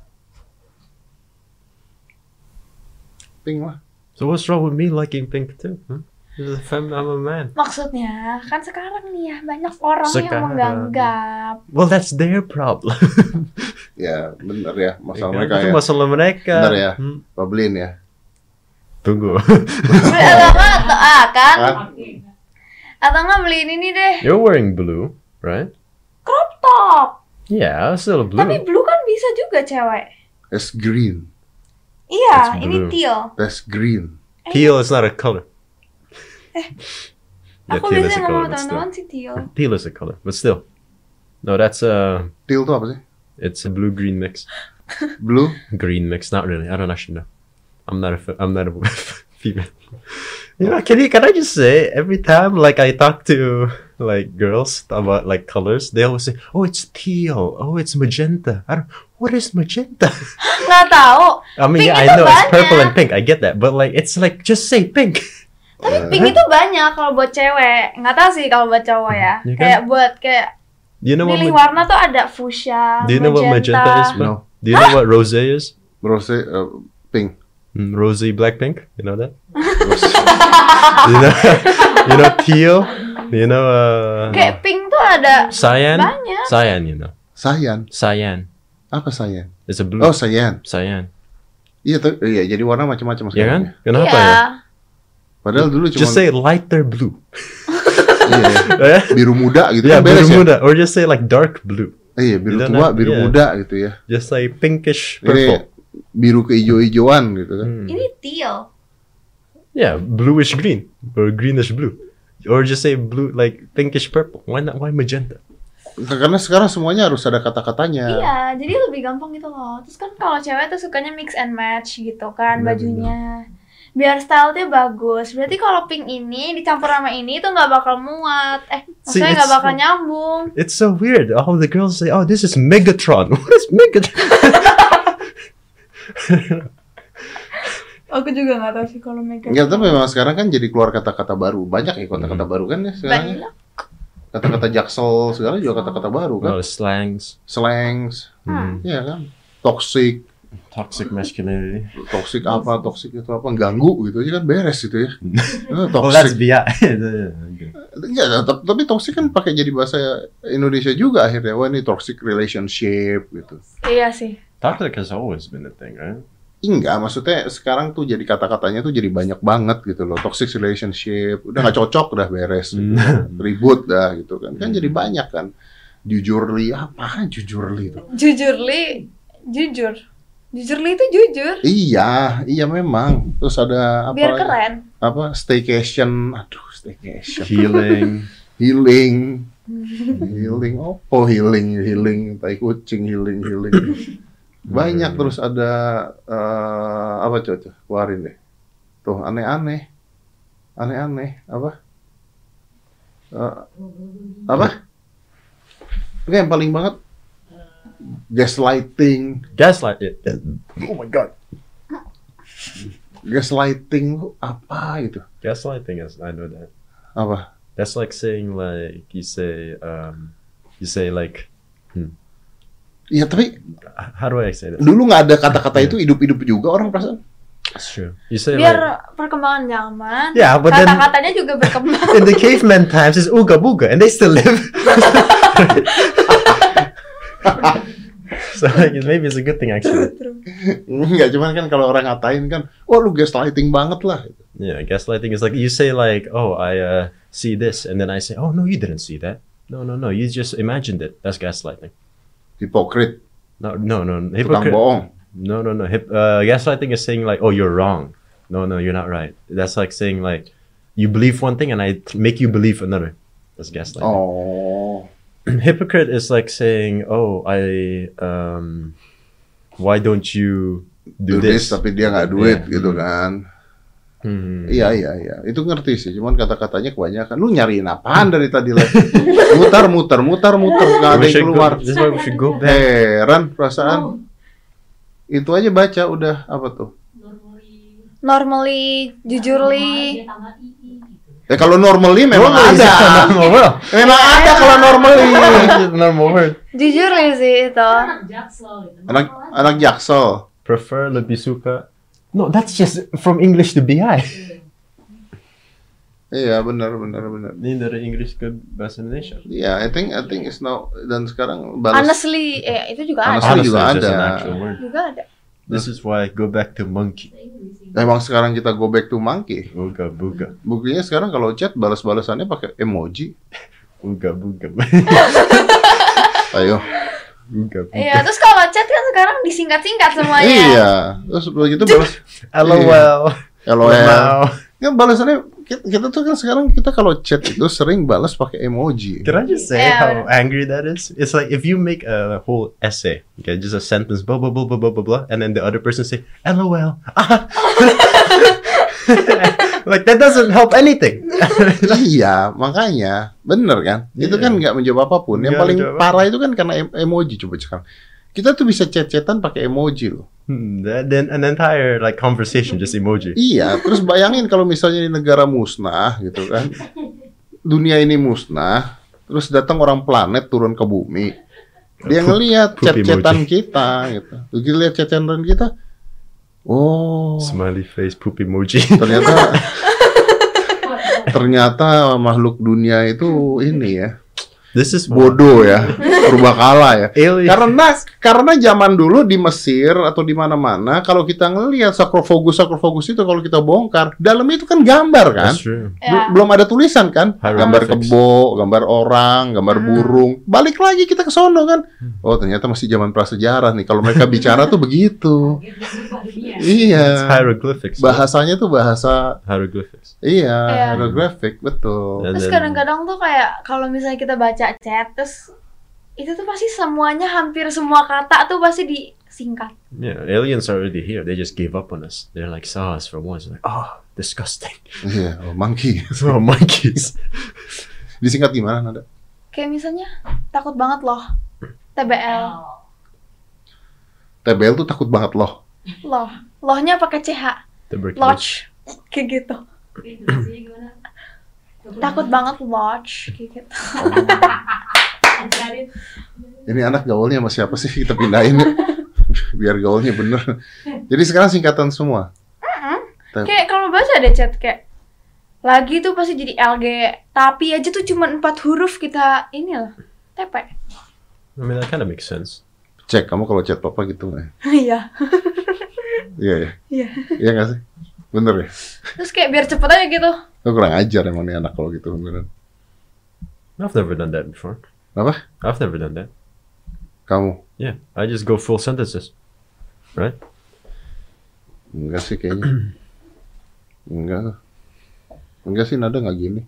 Pink lah. So what's wrong with me liking pink too? huh? This is a fem- I'm a man. Maksudnya kan sekarang nih ya banyak orang yang Sekarang. menganggap Well, that's their problem. Ya bener ya masalah Kan, mereka itu ya. masalah mereka. Bener ya. Hmm. Babelin ya. Tunggu. atau atau ah kan Hah? atau nggak beliin ini deh You're wearing blue, right? crop top. Yeah, still blue. Tapi blue kan bisa juga cewek. That's green. Iya, That's ini blue. teal. That's green. Teal is not a color. Yeah, Eh, Aku Ya, teal is a biasanya ngomong color, sama but still. teman-teman sih teal. Teal is a color, but still. No, that's a Teal tuh apa sih? it's a blue green mix. Blue. Green mix, not really. I don't actually know. I'm not a fe- I'm not a female. You know, can you can I just say every time like I talk to like girls about like colors, they always say, "Oh, it's teal. Oh, it's magenta." I don't. What is magenta? Nggak tahu. I mean, Pink yeah, I itu know it's purple banyak. and pink. I get that, but like it's like just say pink. Eh. Tapi pink itu banyak kalau buat cewek. Nggak tahu sih kalau buat cowok ya. Ya kan? Kayak buat kayak Do you know what? milih ma- warna tuh ada fuchsia, do you know what magenta is? magenta. Bro? No. Do you know what rose is? Rose eh, pink. Mm, rosy black pink. You know that. Rose. you know, you know teal, you know uh, Kayak pink tuh ada cyan, banyak. cyan, you know, Sayan. cyan. Apa sayan? It's a blue Oh sayan. cyan. Iya tuh. Iya jadi warna macam-macam Ya kan? sekarang. ya. Kenapa Iya. ya? Padahal dulu cuma Just say lighter blue. iya, iya. ya, biru muda gitu yeah, kan beres biru ya. muda. Or just say like dark blue. Iya biru Biru tua, na- biru iya. muda gitu ya. Just say pinkish Ini purple. biru keijo-ijoan gitu kan. Hmm. Ini teal. Yeah, bluish green or greenish blue. Or just say blue like pinkish purple. Why not? Why magenta? Hmm. Karena sekarang semuanya harus ada kata-katanya. Iya, jadi lebih gampang gitu loh. Terus kan kalau cewek tuh sukanya mix and match gitu kan Benar, bajunya. Biar stylenya bagus. Berarti kalau pink ini dicampur sama ini tuh nggak bakal muat. Eh, See, maksudnya nggak it's- bakal nyambung. It's so weird. All the girls say, "Oh, this is Megatron." What is Megatron? Aku juga nggak tahu sih kalau make Enggak, tapi memang sekarang kan jadi keluar kata-kata baru. Banyak ya Hmm. kata-kata baru kan ya sekarang. Banyak. Oh. Kata-kata jaksel segala juga kata-kata baru kan. well, slangs, Slangs, Hmm. ya kan. Toxic, toxic masculinity. toxic apa, toxic itu apa, ganggu gitu aja kan beres gitu ya. Eh, Well, Oh, that's toxic. BI. Okay. Iya, tetap- tapi toxic kan pakai jadi bahasa Indonesia juga akhirnya. Wah, ini toxic relationship gitu. Iya sih. Toxic has always been a thing, right? Enggak, maksudnya sekarang tuh jadi kata-katanya tuh jadi banyak banget gitu loh. Toxic relationship, udah nggak cocok, udah beres, gitu. ribut dah gitu kan. Kan jadi banyak kan. Jujurly, apa jujurly itu? Jujur li, jujur. Jujur li itu jujur. Iya, iya memang. Terus ada apa? Biar lagi? keren. Apa? Staycation, aduh staycation. Healing. Healing, healing, oh healing, healing, tai kucing, healing, healing. Banyak terus ada eh, apa coba keluarin deh. Tuh aneh-aneh, aneh-aneh apa? Eh, apa? Oke yang paling banget gaslighting. Gaslight. It, it, Oh my god. Gaslighting tuh apa gitu? gaslighting is. I know that. Apa? That's like saying like you say um, you say like Iya tapi Iya, h- how do I say that? dulu nggak ada kata-kata itu hidup-hidup juga orang perasaan. It's true. You say biar like perkembangan zaman Yeah, but then- kata-katanya juga berkembang in the caveman times it's ooga booga and they still live. so like, it- maybe it's a good thing actually. Enggak, cuman kan kalau orang ngatain kan, wah lu gaslighting banget lah. Yeah, gaslighting is like you say like, oh, I uh, see this, and then I say, oh no, you didn't see that. No, no, no, you just imagined it. That's gaslighting. Hipokrit, No, no, no, tukang hypocrite. bohong. No, no, no. Hip, uh, gaslighting is saying like, oh, you're wrong. No, no, you're not right. That's like saying like, you believe one thing and I t- make you believe another. That's gaslighting. Oh, Hypocrite is like saying, oh, I, um, why don't you do do, this, this? tapi dia nggak duit Yeah. gitu kan. Hmm. Iya, iya, iya. Itu ngerti sih, cuman kata-katanya kebanyakan. Lu nyariin apaan dari tadi lah? mutar, mutar, mutar, mutar, nggak ada We yang should keluar. go, this is why we should go back. Heran perasaan. Itu aja baca udah apa tuh? normally jujurly Ya kalau normally memang Normally, ada. it's a normal world. Memang ada kalau normally. It's a normal word. jujurly sih itu Anak anak jaksel. Prefer lebih suka. No, that's just from English to BI. Iya, benar benar benar. Ini dari Inggris ke bahasa Indonesia. Iya, I think I think it's now dan sekarang balas honestly eh itu juga ada Honestly. juga it's just ada. an actual word. juga ada This is why I go back to monkey. Emang sekarang kita go back to monkey. Uga buga, Buktinya sekarang kalau chat balas-balasannya pakai emoji. uga buga, Ayo. uga buga. Iya, terus kalau chat kan sekarang disingkat-singkat semuanya. Iya. Terus begitu balas LOL. LOL. Wow. Kan balasannya kita, kita tuh kan sekarang kita kalau chat itu sering balas pakai emoji. Can I just say Yeah. how angry that is? It's like if you make a whole essay, okay, just a sentence, blah blah blah blah blah blah, blah and then the other person say LOL. Ah. like that doesn't help anything. iya, makanya bener kan? Itu Iya. kan nggak menjawab apapun. Yang Nggak paling menjawab parah itu kan karena em- emoji coba sekarang. Kita tuh bisa chat-chatan pakai emoji loh. Hmm, that- then an entire like conversation just emoji. Iya, terus bayangin kalau misalnya di negara musnah gitu kan. Dunia ini musnah, terus datang orang planet turun ke bumi. Dia Poop- ngelihat poop chat-chatan emoji. kita gitu. Begitu lihat chat-chatan kita, oh, Smiley face, poop emoji. ternyata ternyata makhluk dunia itu ini ya, this is bodoh ya, purbakala ya. Alien. Karena karena zaman dulu di Mesir atau di mana-mana kalau kita ngelihat sakrofogus sakrofogus itu kalau kita bongkar dalamnya itu kan gambar kan That's true. Iya. Bel- belum ada tulisan kan Hieroglyphics. gambar kebo gambar orang gambar burung balik lagi kita ke sono kan oh ternyata masih zaman prasejarah nih kalau mereka bicara tuh begitu It's iya hieroglyphics. bahasanya tuh bahasa hieroglyphics. iya Iya. hieroglyphic betul And Terus then- kadang-kadang tuh kayak kalau misalnya kita baca chat terus itu tuh pasti semuanya hampir semua kata tuh pasti disingkat. Yeah, aliens are already here. They just gave up on us. They're like saw us for once. Like, oh, disgusting. iya oh, monkey It's all monkeys. disingkat gimana nada Kayak misalnya takut banget loh. TBL. TBL tuh takut banget loh Loh. Lohnya pakai CH. Tuberculosis. Lodge. Kayak gitu. Takut banget lodge kayak gitu. Ini anak gaulnya sama siapa sih kita pindahin ya. Biar gaulnya bener. Jadi sekarang singkatan semua. Nah. Kayak kalau baca ada chat kayak lagi tuh pasti jadi LG, tapi aja tuh cuma empat huruf kita ini loh. TP. I mean, that kind of makes sense. Cek kamu kalau chat papa gitu nggak? ya? Iya. Iya ya. Iya. Iya nggak sih? Bener ya. Terus kayak biar cepet aja gitu. Lo kurang ajar emang nih anak kalau gitu beneran. I've never done that before. Apa? I've never done that. Kamu? Yeah, I just go full sentences. Right? Enggak sih kayaknya. Enggak. Enggak sih nada nggak gini.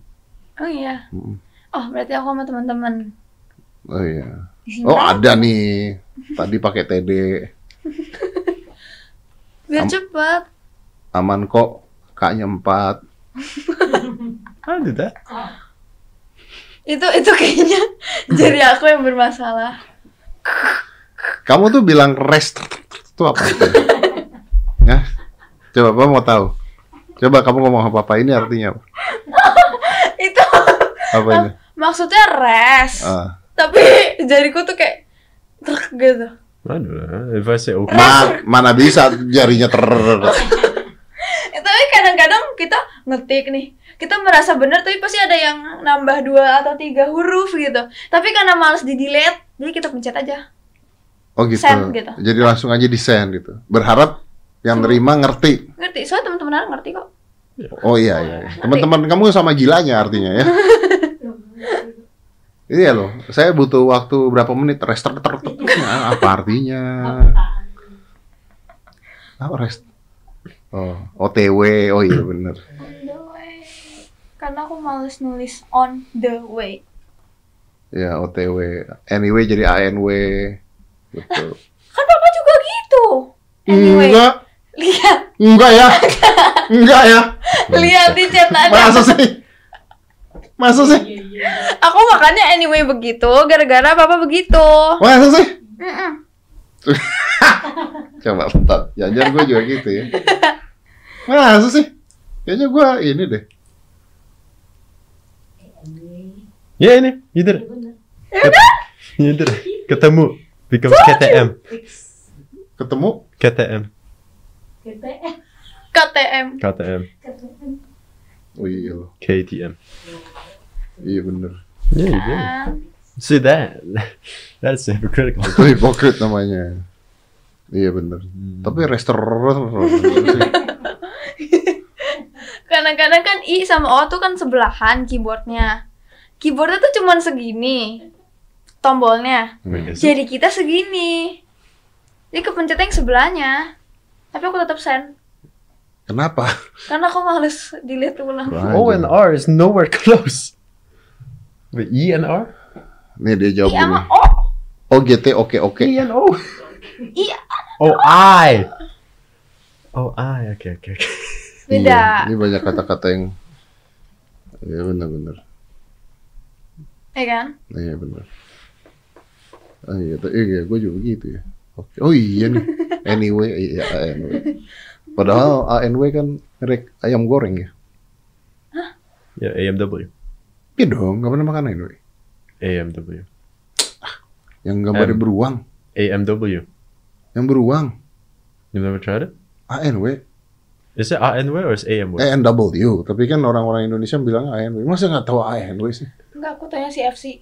Oh iya. Mm. Oh berarti aku sama teman-teman. Oh iya. di sini Oh kan ada nih. Tadi pakai TD. Biar Am- cepet. Aman kok. Kaknya empat. I did that. Itu itu kayaknya jari aku yang bermasalah. Kamu tuh bilang rest itu apa? ya? Coba Papa mau tahu. Coba kamu ngomong sama papa ini artinya apa? itu Apa ini? maksudnya rest. Ah. Tapi jariku tuh kayak truk gitu. I do that. If I say "Oh, okay, Ma- mana bisa jarinya ter Eh, kita ngetik nih kita merasa benar tapi pasti ada yang nambah dua atau tiga huruf gitu tapi karena males di delete jadi kita pencet aja Oh gitu. Send gitu. Hmm. Jadi langsung aja di send gitu. Berharap yang nerima ngerti. ngerti soalnya teman-teman Ara ngerti kok Oh iya iya. Teman-teman kamu sama gilanya artinya ya. iya loh. Saya butuh waktu berapa menit rest ter- ter- ter- ter- apa artinya? Apa rest? Oh, OTW. Oh iya bener. on the way karena aku males nulis on the way Ya OTW. Anyway jadi ANW. Betul. kan papa juga gitu anyway Enggak, lihat enggak ya. Enggak ya. lihat di Masa catatannya sih? Masa sih? aku makannya anyway begitu gara-gara papa begitu Masa sih? Mm-mm. Coba bentar, jajar gue juga gitu ya Masa sih? Kayaknya gue ini deh Ya ini, you did it. You did it. Ketemu. Become KTM. Ketemu KTM. KTM KTM. Oh iya loh, KTM. iya bener Yeah, you did. Ah, it. See that? That's hypocritical. Itu Oh, hipokrit namanya Iya bener Tapi restoran kadang-kadang kan i sama o tuh kan sebelahan keyboardnya keyboardnya tuh cuman segini tombolnya Hmm. Is it? jadi kita segini jadi kepencet yang sebelahnya tapi aku tetap send Kenapa? karena aku males dilihat ulang O and R is nowhere close. But E and R? Nih dia i jawab gini sama o OGT oke oke E and O. i Oh, I. Oh, I. Okay, okay, okay. beda Iya, Ini banyak kata-kata yang Iya bener-bener ya kan Iya bener Ah, iya, t- iya gue juga begitu ya. Oke. Oh iya nih. Anyway, iya ANW. Padahal ANW kan rek ayam goreng ya. Yeah, AMW. Iya dong, nggak pernah makan ANW. AMW. Yang gambarnya Em. beruang, AMW. yang beruang You've never tried it? ANW, Is it ANW or is it AMW? Eh, ANW. Tapi kan orang-orang Indonesia bilang ANW. Masa nggak tahu ANW sih? enggak aku tanya si FC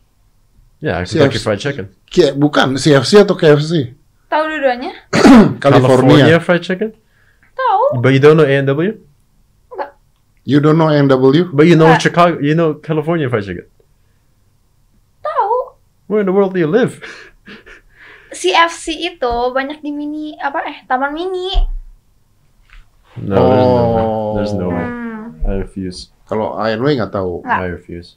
yeah, it's Yes. Kentucky Fried Chicken. Kayak bukan CFC atau KFC? tahu dua-duanya California. Fried Chicken? tahu But you don't know AMW? You don't know ANW? But you know Yeah. Chicago, you know California Fried Chicken. tahu Where in the world do you live? si FC itu banyak di mini apa eh taman mini No, there's no way. There's no way. hmm. I refuse. Kalau ANW nggak tahu. Nggak. I refuse.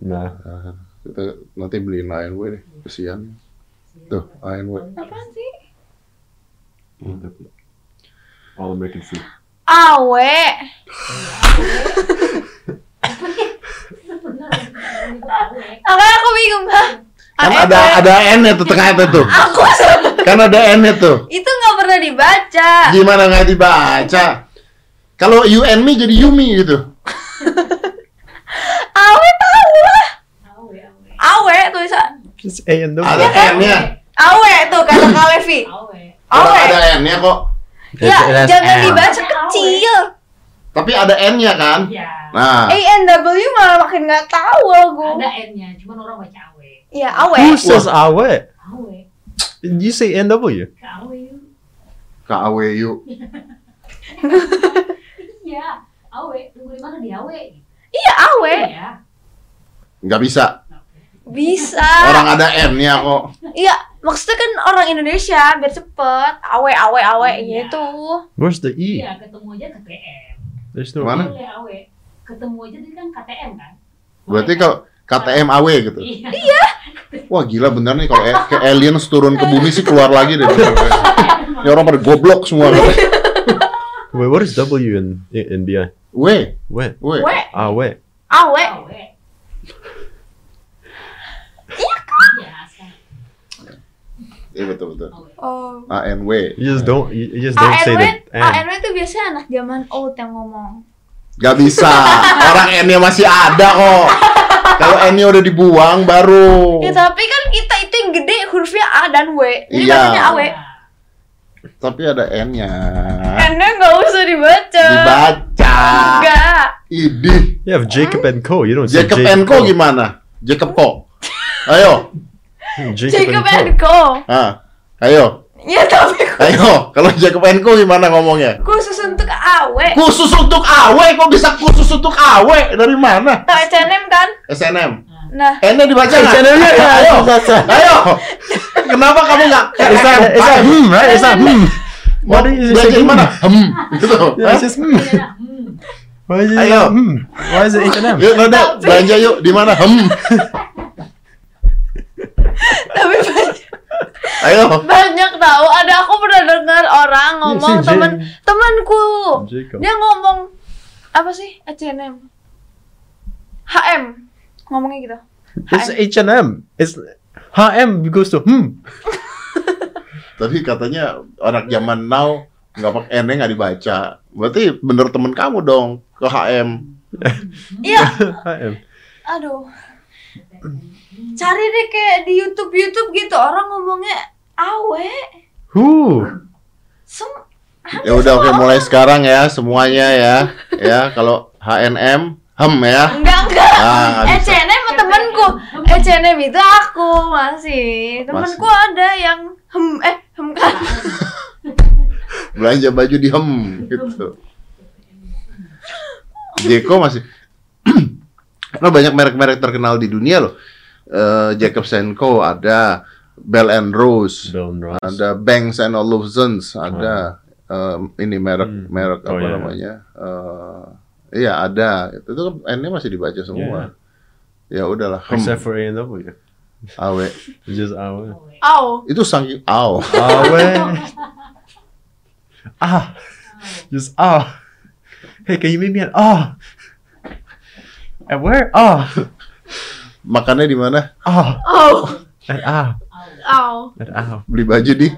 Nah, Ah, kita nanti beliin ANW deh. Kesian. Tuh, ANW. apaan sih all American food. awe makanya aku bingung hah? Kan ANW? ada ada N-nya tuh tengah itu tuh. aku sem- Kan ada N-nya tuh. itu nggak pernah dibaca Gimana nggak dibaca? Kalau you and me jadi Yumi gitu. awe tahu lah awe tulisan It's A and W. Ada N-nya. awe tuh kata Kak Levi Ada, awe ada N-nya kok. ya It has jangan N. dibaca kecil Tapi ada N-nya kan? Iya. Nah, Eh. ANW malah makin nggak tahu aku Ada N-nya, cuman orang baca AW. ya awe Who says Awe? AW. You say NW. Ke AW yuk. KAWU. Iya. AW, tunggu di mana di Gitu AW? iya awe Iya. Nggak bisa. bisa Orang ada N-nya kok. Iya, maksudnya kan orang Indonesia biar cepet, awe awe awe Iya. gitu. Where's the E? Iya, ketemu aja KTM. There's no Mana? E. Boleh AW. Ketemu aja tadi kan KTM kan? Berarti kalau KTM AW gitu. Iya. Wah gila bener nih kalau e- ke aliens turun ke bumi sih keluar lagi deh. Ini orang pada goblok semua. Wait, what is W in in BI? Weh, Where? weh. We, Awe. awe. AW. Iya, sekarang Iya betul betul. AW. Oh. ANW. You just don't. You you just Ah, don't say Eh. the ANW, N. ANW itu biasanya anak zaman old yang ngomong. Gak bisa. Orang N-nya masih ada kok. Kalau N-nya udah dibuang baru. Oh. Ya tapi kan kita itu yang gede hurufnya A dan W. Jadi Iya. bacanya awe. Tapi ada N-nya. Anda nggak usah dibaca. Dibaca. Enggak. Idih. You have Jacob and Co. You don't say Jacob and Co gimana? Jacob Co. Ayo. Jacob and Hmm, Co. Co. Ah. Ayo. Ya tapi ku- Ayo. Kalau Jacob and Co gimana ngomongnya? khusus untuk awe. Khusus untuk AW kok bisa khusus untuk AW dari mana? Tahu H&M kan? SNM. Nah, N-nya dibaca nggak? Channelnya ya. Ayo. It's Ayo. Kenapa kamu nggak? Eh, a, it's a hmm, right? It's a hmm. What do you Belajar say? gimana? Hmm. Gitu. Yeah, it's just hmm. Nah, hmm. Why is it Ayo. hmm? Why is it H&M? Yuk, Noda, Tapi- belanja yuk. Di mana? Hmm. tapi banyak, Ayo. banyak tahu. Ada aku pernah dengar orang ngomong Iya, si J- temen temanku. Jacob. Dia ngomong apa sih? H&M. HM. Ngomongnya gitu. It's H&M. It's H&M goes to hmm. Tapi katanya orang zaman now nggak pakai N-nya nggak dibaca. Berarti bener temen kamu dong ke HM. Iya, H&M. aduh. Cari deh kayak di YouTube-YouTube gitu orang ngomongnya awe. Who? Sem Ya udah oke mulai sekarang ya semuanya ya. Ya kalau HNM hem ya. enggak enggak. Ah, nggak bisa. H&M temanku. H&M itu aku masih. Temanku ada yang hem eh hem kan. Belanja baju di hem gitu. Jeko masih Nah banyak merek-merek terkenal di dunia loh. Eh, Jacobs Co ada, Bell and Rose. Uh, ada Banks and Olufsen's, ada um, ini Hmm. merek merek Oh, apa iya. namanya? Eh, iya ada. Itu tuh N-nya masih dibaca semua. Ya udahlah. Hmm, Iya. Except for A&W. awe. It's just Awe. Au. Itu saking aw. Awe. ah. Just ah. Hey, can you meet me at ah? At where? Ah. Makannya di mana? Ah. Au. At ah. Au. At ah. Beli baju di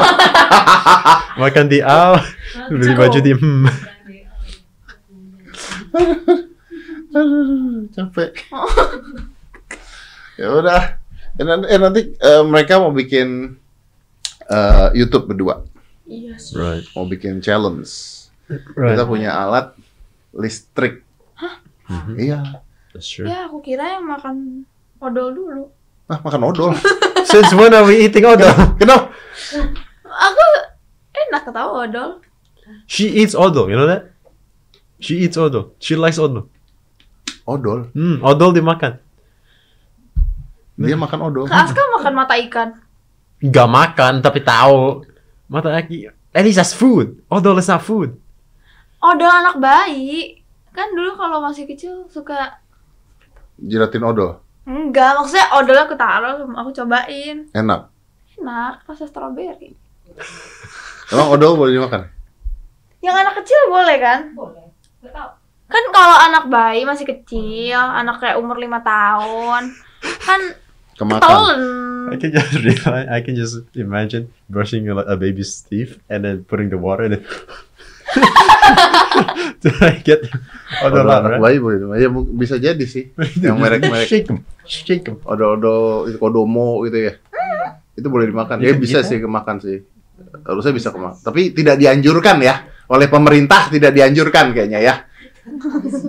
Makan di ah. Beli baju di hmm. Aduh, capek. ya udah. Eh, nanti, eh, nanti eh, mereka mau bikin eh, YouTube berdua, Iya. sih. Right. mau bikin challenge. Kita Right. punya alat listrik. Mhm. Iya. That's true. Ya, aku kira yang makan odol dulu. Ah, makan odol. Since when are we eating odol? Kenapa? Aku enak ketawa odol. She eats odol. You know that? She eats odol. She likes odol. Odol. Hmm. Odol dimakan. Dia makan odol. Kak Aska makan mata ikan. Gak makan tapi tahu. Mata aki. At least that's food. Odol is not food. Odol anak bayi. Kan dulu kalau masih kecil suka Jelatin odol. Enggak, maksudnya odol aku taruh, aku cobain. Enak. Enak, rasa stroberi. Emang odol boleh dimakan? Yang anak kecil boleh kan? Boleh. Gak tau. Kan kalau anak bayi masih kecil, anak kayak umur 5 tahun, kan Kemakan. telan. I can just realize, I can just imagine brushing a, a baby's teeth and then putting the water and then. Did I get Odol odol anak right? bayi boleh dimakan. Ya mung- bisa jadi sih. Yang merek-merek. Shake them, shake them. Odol-odol itu kodomo gitu ya. Itu boleh dimakan. Ya Gitu- bisa gitu. sih kemakan sih. Harusnya bisa kemakan. Tapi tidak dianjurkan ya. Oleh pemerintah tidak dianjurkan kayaknya ya.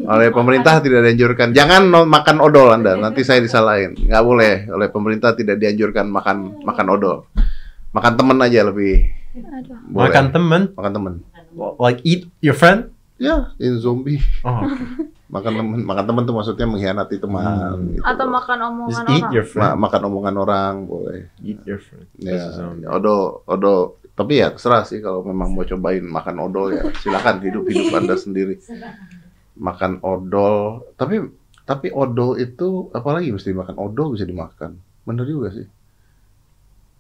Oleh pemerintah tidak dianjurkan. Jangan no- makan odol Anda. Nanti saya disalahin. Nggak boleh. Oleh pemerintah tidak dianjurkan makan makan odol. Makan temen aja lebih. Aduh. Boleh. Makan temen, makan temen. like eat your friend. Ya, in zombie. Oh, makan teman makan teman tuh maksudnya mengkhianati teman Hmm. gitu. Atau makan just omongan eat orang. your Ma- friend. makan omongan orang boleh Eat your friend. ya This is only- odol odol tapi ya terserah sih kalau memang mau cobain makan odol ya silakan hidup hidup anda sendiri makan odol tapi tapi odol itu apalagi mesti dimakan odol bisa dimakan bener juga sih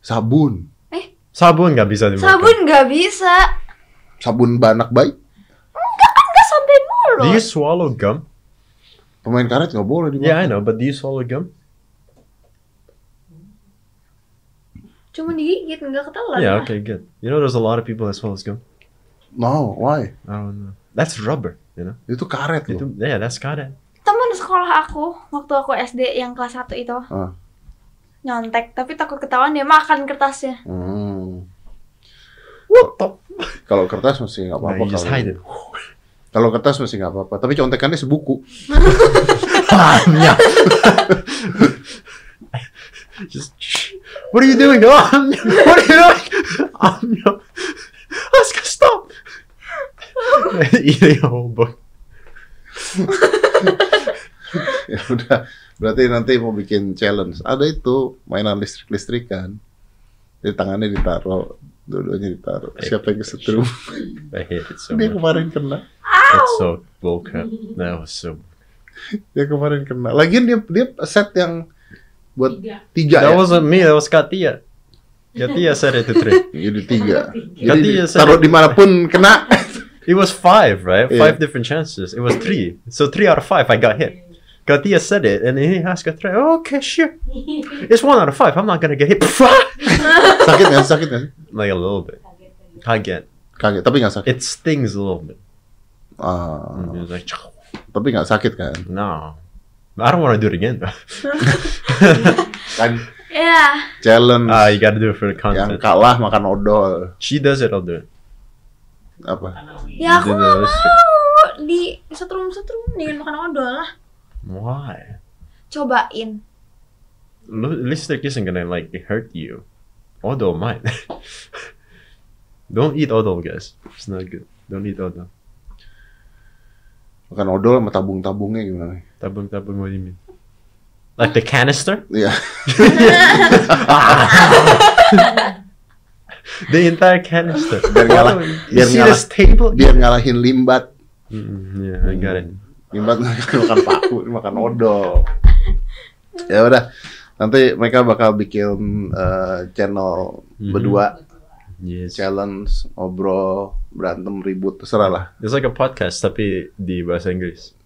sabun Sabun nggak bisa dimakan. Sabun nggak bisa. sabun banak baik Nggak sampai mulut. Do you swallow gum? pemain karet nggak boleh dimakan Yeah, I know, but do you swallow gum? Cuma digigit, nggak ketelan. Yeah, okay, good. You know, there's a lot of people that swallows gum. no why I don't know. That's rubber, you know. itu karet loh Itu, yeah, that's karet. Teman sekolah aku, waktu aku SD yang kelas 1 itu, Ah. nyontek. Tapi takut ketahuan dia makan kertasnya. Hmm. laptop. Kalau kertas mesti nggak Nah, apa-apa. you just kalau- hide it. Kalau kertas mesti nggak apa-apa. Tapi contekannya sebuku. Amnya. just What are you doing? No, Amnya. What are you doing? Amnya. Oscar, stop. Eating a whole book. ya udah. Berarti nanti mau bikin challenge. Ada itu mainan listrik-listrikan. Jadi tangannya ditaruh, dua-duanya ditaruh. Eh, Siapa yang kesetrum? I hate it so Dia much. kemarin kena. That's so bullcrap. That was so. Dia kemarin kena. Lagian dia dia set yang buat Tiga. tiga ya. That wasn't me. That was Katia. Katia said it to three. Jadi Iya, tiga. Tiga. Jadi Ganti ya, taruh saya. dimanapun kena. It was five, right? Yeah. Five different chances. It was three. So three out of five, I got hit. Katia said it, and he asked a three. Okay, sure. It's one out of five. I'm not gonna get hit. sakit nggak? Sakit nggak? like a little bit. Kaget tadi. I get. Kaget. Tapi nggak sakit. It stings a little bit. Ah, And it was like, tapi nggak sakit kan? no, I don't want to do it again. Kan Ya, challenge. Ah, you got to do it for the yang content. kalah makan odol She does it. I'll do it. apa? ya Jadi aku nggak harus- mau di setrum-setrum dengan makan odol lah. Why? Cobain. Lu- At least it isn't gonna like hurt you. Odol might. don't eat odol, guys. It's not good. Don't eat odol. Makan odol sama tabung-tabungnya gimana? nih? Tabung tabung. What do you mean? Like the canister? Iya. The entire canister. Biar ngalah. You Biar see ngalah. this table? Biar ngalahin limbat. Mm, yeah, I got it. Limbat makan makan paku, dia makan odol. Ya udah. Nanti mereka bakal bikin eh, channel Mhm. Mm-hmm. berdua Yes. challenge ngobrol berantem ribut terserah lah It's like a podcast tapi di bahasa Inggris.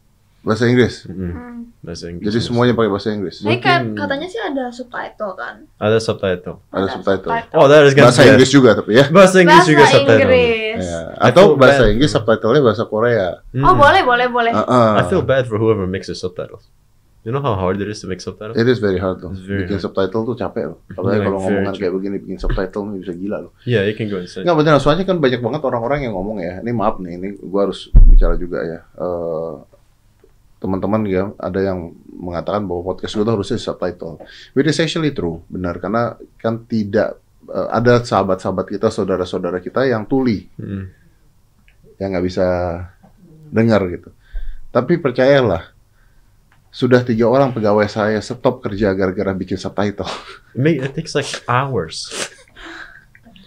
bahasa Inggris. Mm, Hmm. bahasa Inggris. Jadi semuanya pakai bahasa Inggris. Tapi kan Mungkin- katanya sih ada subtitle kan. ada Ah, subtitle. Ada subtitle. Oh, that is gonna Bahasa be a- Inggris juga tapi ya. Bahasa Inggris Bahasa juga subtitle. Inggris. Iya. Atau Aku bahasa bad. Inggris subtitle-nya bahasa Korea. Ah, Mm. Oh boleh boleh boleh. Heeh. I feel bad for whoever mixes subtitles. You know how hard it is to make subtitles? It is very hard loh. It's very bikin hard. subtitle tuh capek loh. Apalagi Yeah, kalau very ngomongan true. kayak begini bikin subtitle nih bisa gila loh. Yeah, you can go insane. Enggak beneran soalnya kan banyak banget orang-orang yang ngomong ya. Ini maaf nih, ini gua harus bicara juga ya. Eh, teman-teman ya ada yang mengatakan bahwa podcast gua tuh harusnya subtitle. Which is actually true, benar karena kan tidak eh, ada sahabat-sahabat kita, saudara-saudara kita yang tuli Mm. yang nggak bisa dengar gitu. Tapi percayalah, sudah tiga orang pegawai saya stop kerja gara-gara bikin subtitle. It, make, it takes like hours.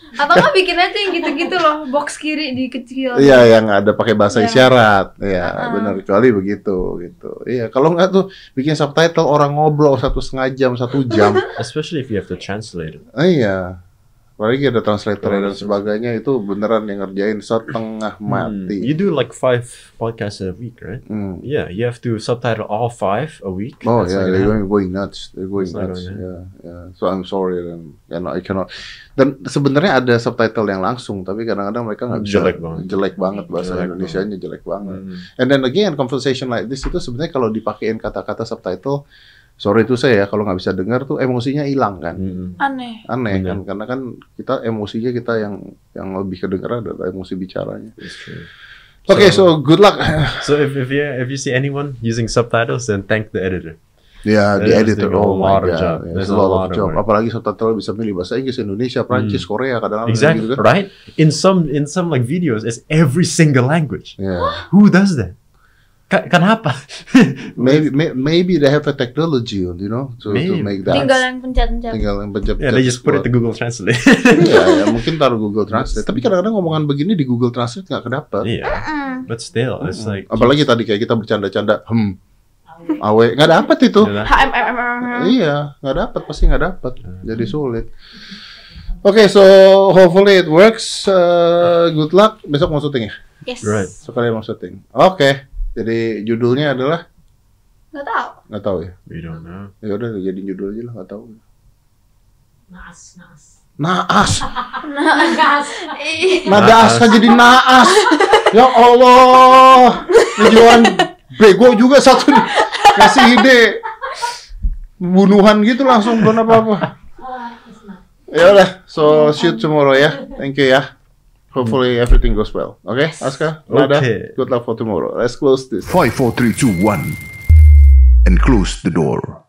Atau nggak bikin aja yang gitu-gitu loh, box kiri dikecil. Iya, yang ada pakai bahasa Iya. isyarat. Iya, Ah. benar kecuali begitu gitu. Iya, kalau nggak tuh bikin subtitle orang ngobrol satu setengah jam, satu jam. Especially if you have to translate it. Ah, iya. Apalagi ada translator Betul, dan betul. sebagainya itu beneran yang ngerjain setengah Mm. You mati. do like five podcasts a week, right? Hmm. Yeah, you have to subtitle all five a week. Oh That's ya, not they're gonna happen. going, going nuts, they're going It's not nuts. going, Yeah, yeah. So I'm sorry, dan you know, I cannot. Dan sebenarnya ada subtitle yang langsung, tapi kadang-kadang mereka nggak bisa. Jelek banget. Jelek banget bahasa Jelek Indonesianya jelek banget. Mm. And then again, conversation like this itu sebenarnya kalau dipakein kata-kata subtitle, sorry itu saya ya, kalau nggak bisa dengar tuh emosinya hilang kan. Mm. Aneh. Aneh Bener. kan, karena kan kita emosinya kita yang yang lebih kedengeran adalah emosi bicaranya. It's true. Oke, so So- good luck. So if, if you if you see anyone using subtitles, then thank the editor. ya, di There's editor. a Oh my lot of god, job. Yeah, it's There's a a lot lot of of job. work. Hmm. Apalagi subtitle bisa milih bahasa Inggris, Indonesia, Prancis, Korea, kadang-kadang Exactly gitu kan. right. In some in some like videos, it's every single language. Yeah. Who does that? Ka- Kenapa? Maybe may- maybe they have a technology, you know, to, to Maybe. make that. Tinggal yang pencet-pencet. tinggal yang pencet. yeah, they just put it to Google Translate. ya, ya, mungkin taruh Google Translate. Tapi kadang-kadang ngomongan begini di Google Translate nggak kedapat. yeah, Mm. but still, Iya, it's Oh. like Apalagi tadi kayak kita bercanda-canda, hmm, Awe. awe, nggak dapat itu. you know, HMM. HMM. Iya, nggak dapat pasti nggak dapat. Iya. Jadi sulit. Oke, so hopefully it works. Uh, good luck. Besok mau syuting ya? Yes. Right. Sekali mau syuting. Oke. Jadi judulnya adalah Gak tau. nggak tahu ya. we don't know. Ya udah jadi judul aja lah nggak tahu. Naas, naas. Naas. Naas. Nada aska jadi naas. Ya Allah. Tujuan bego juga satu nih. Kasih ide bunuhan gitu langsung bukan apa-apa. Ah, naas, naas. Ya udah, so shoot tomorrow ya. Thank you ya. Hopefully everything goes well. Okay, Aska, Nada, Okay. good luck for tomorrow. Let's close this. 5, 4, 3, 2, 1. And close the door.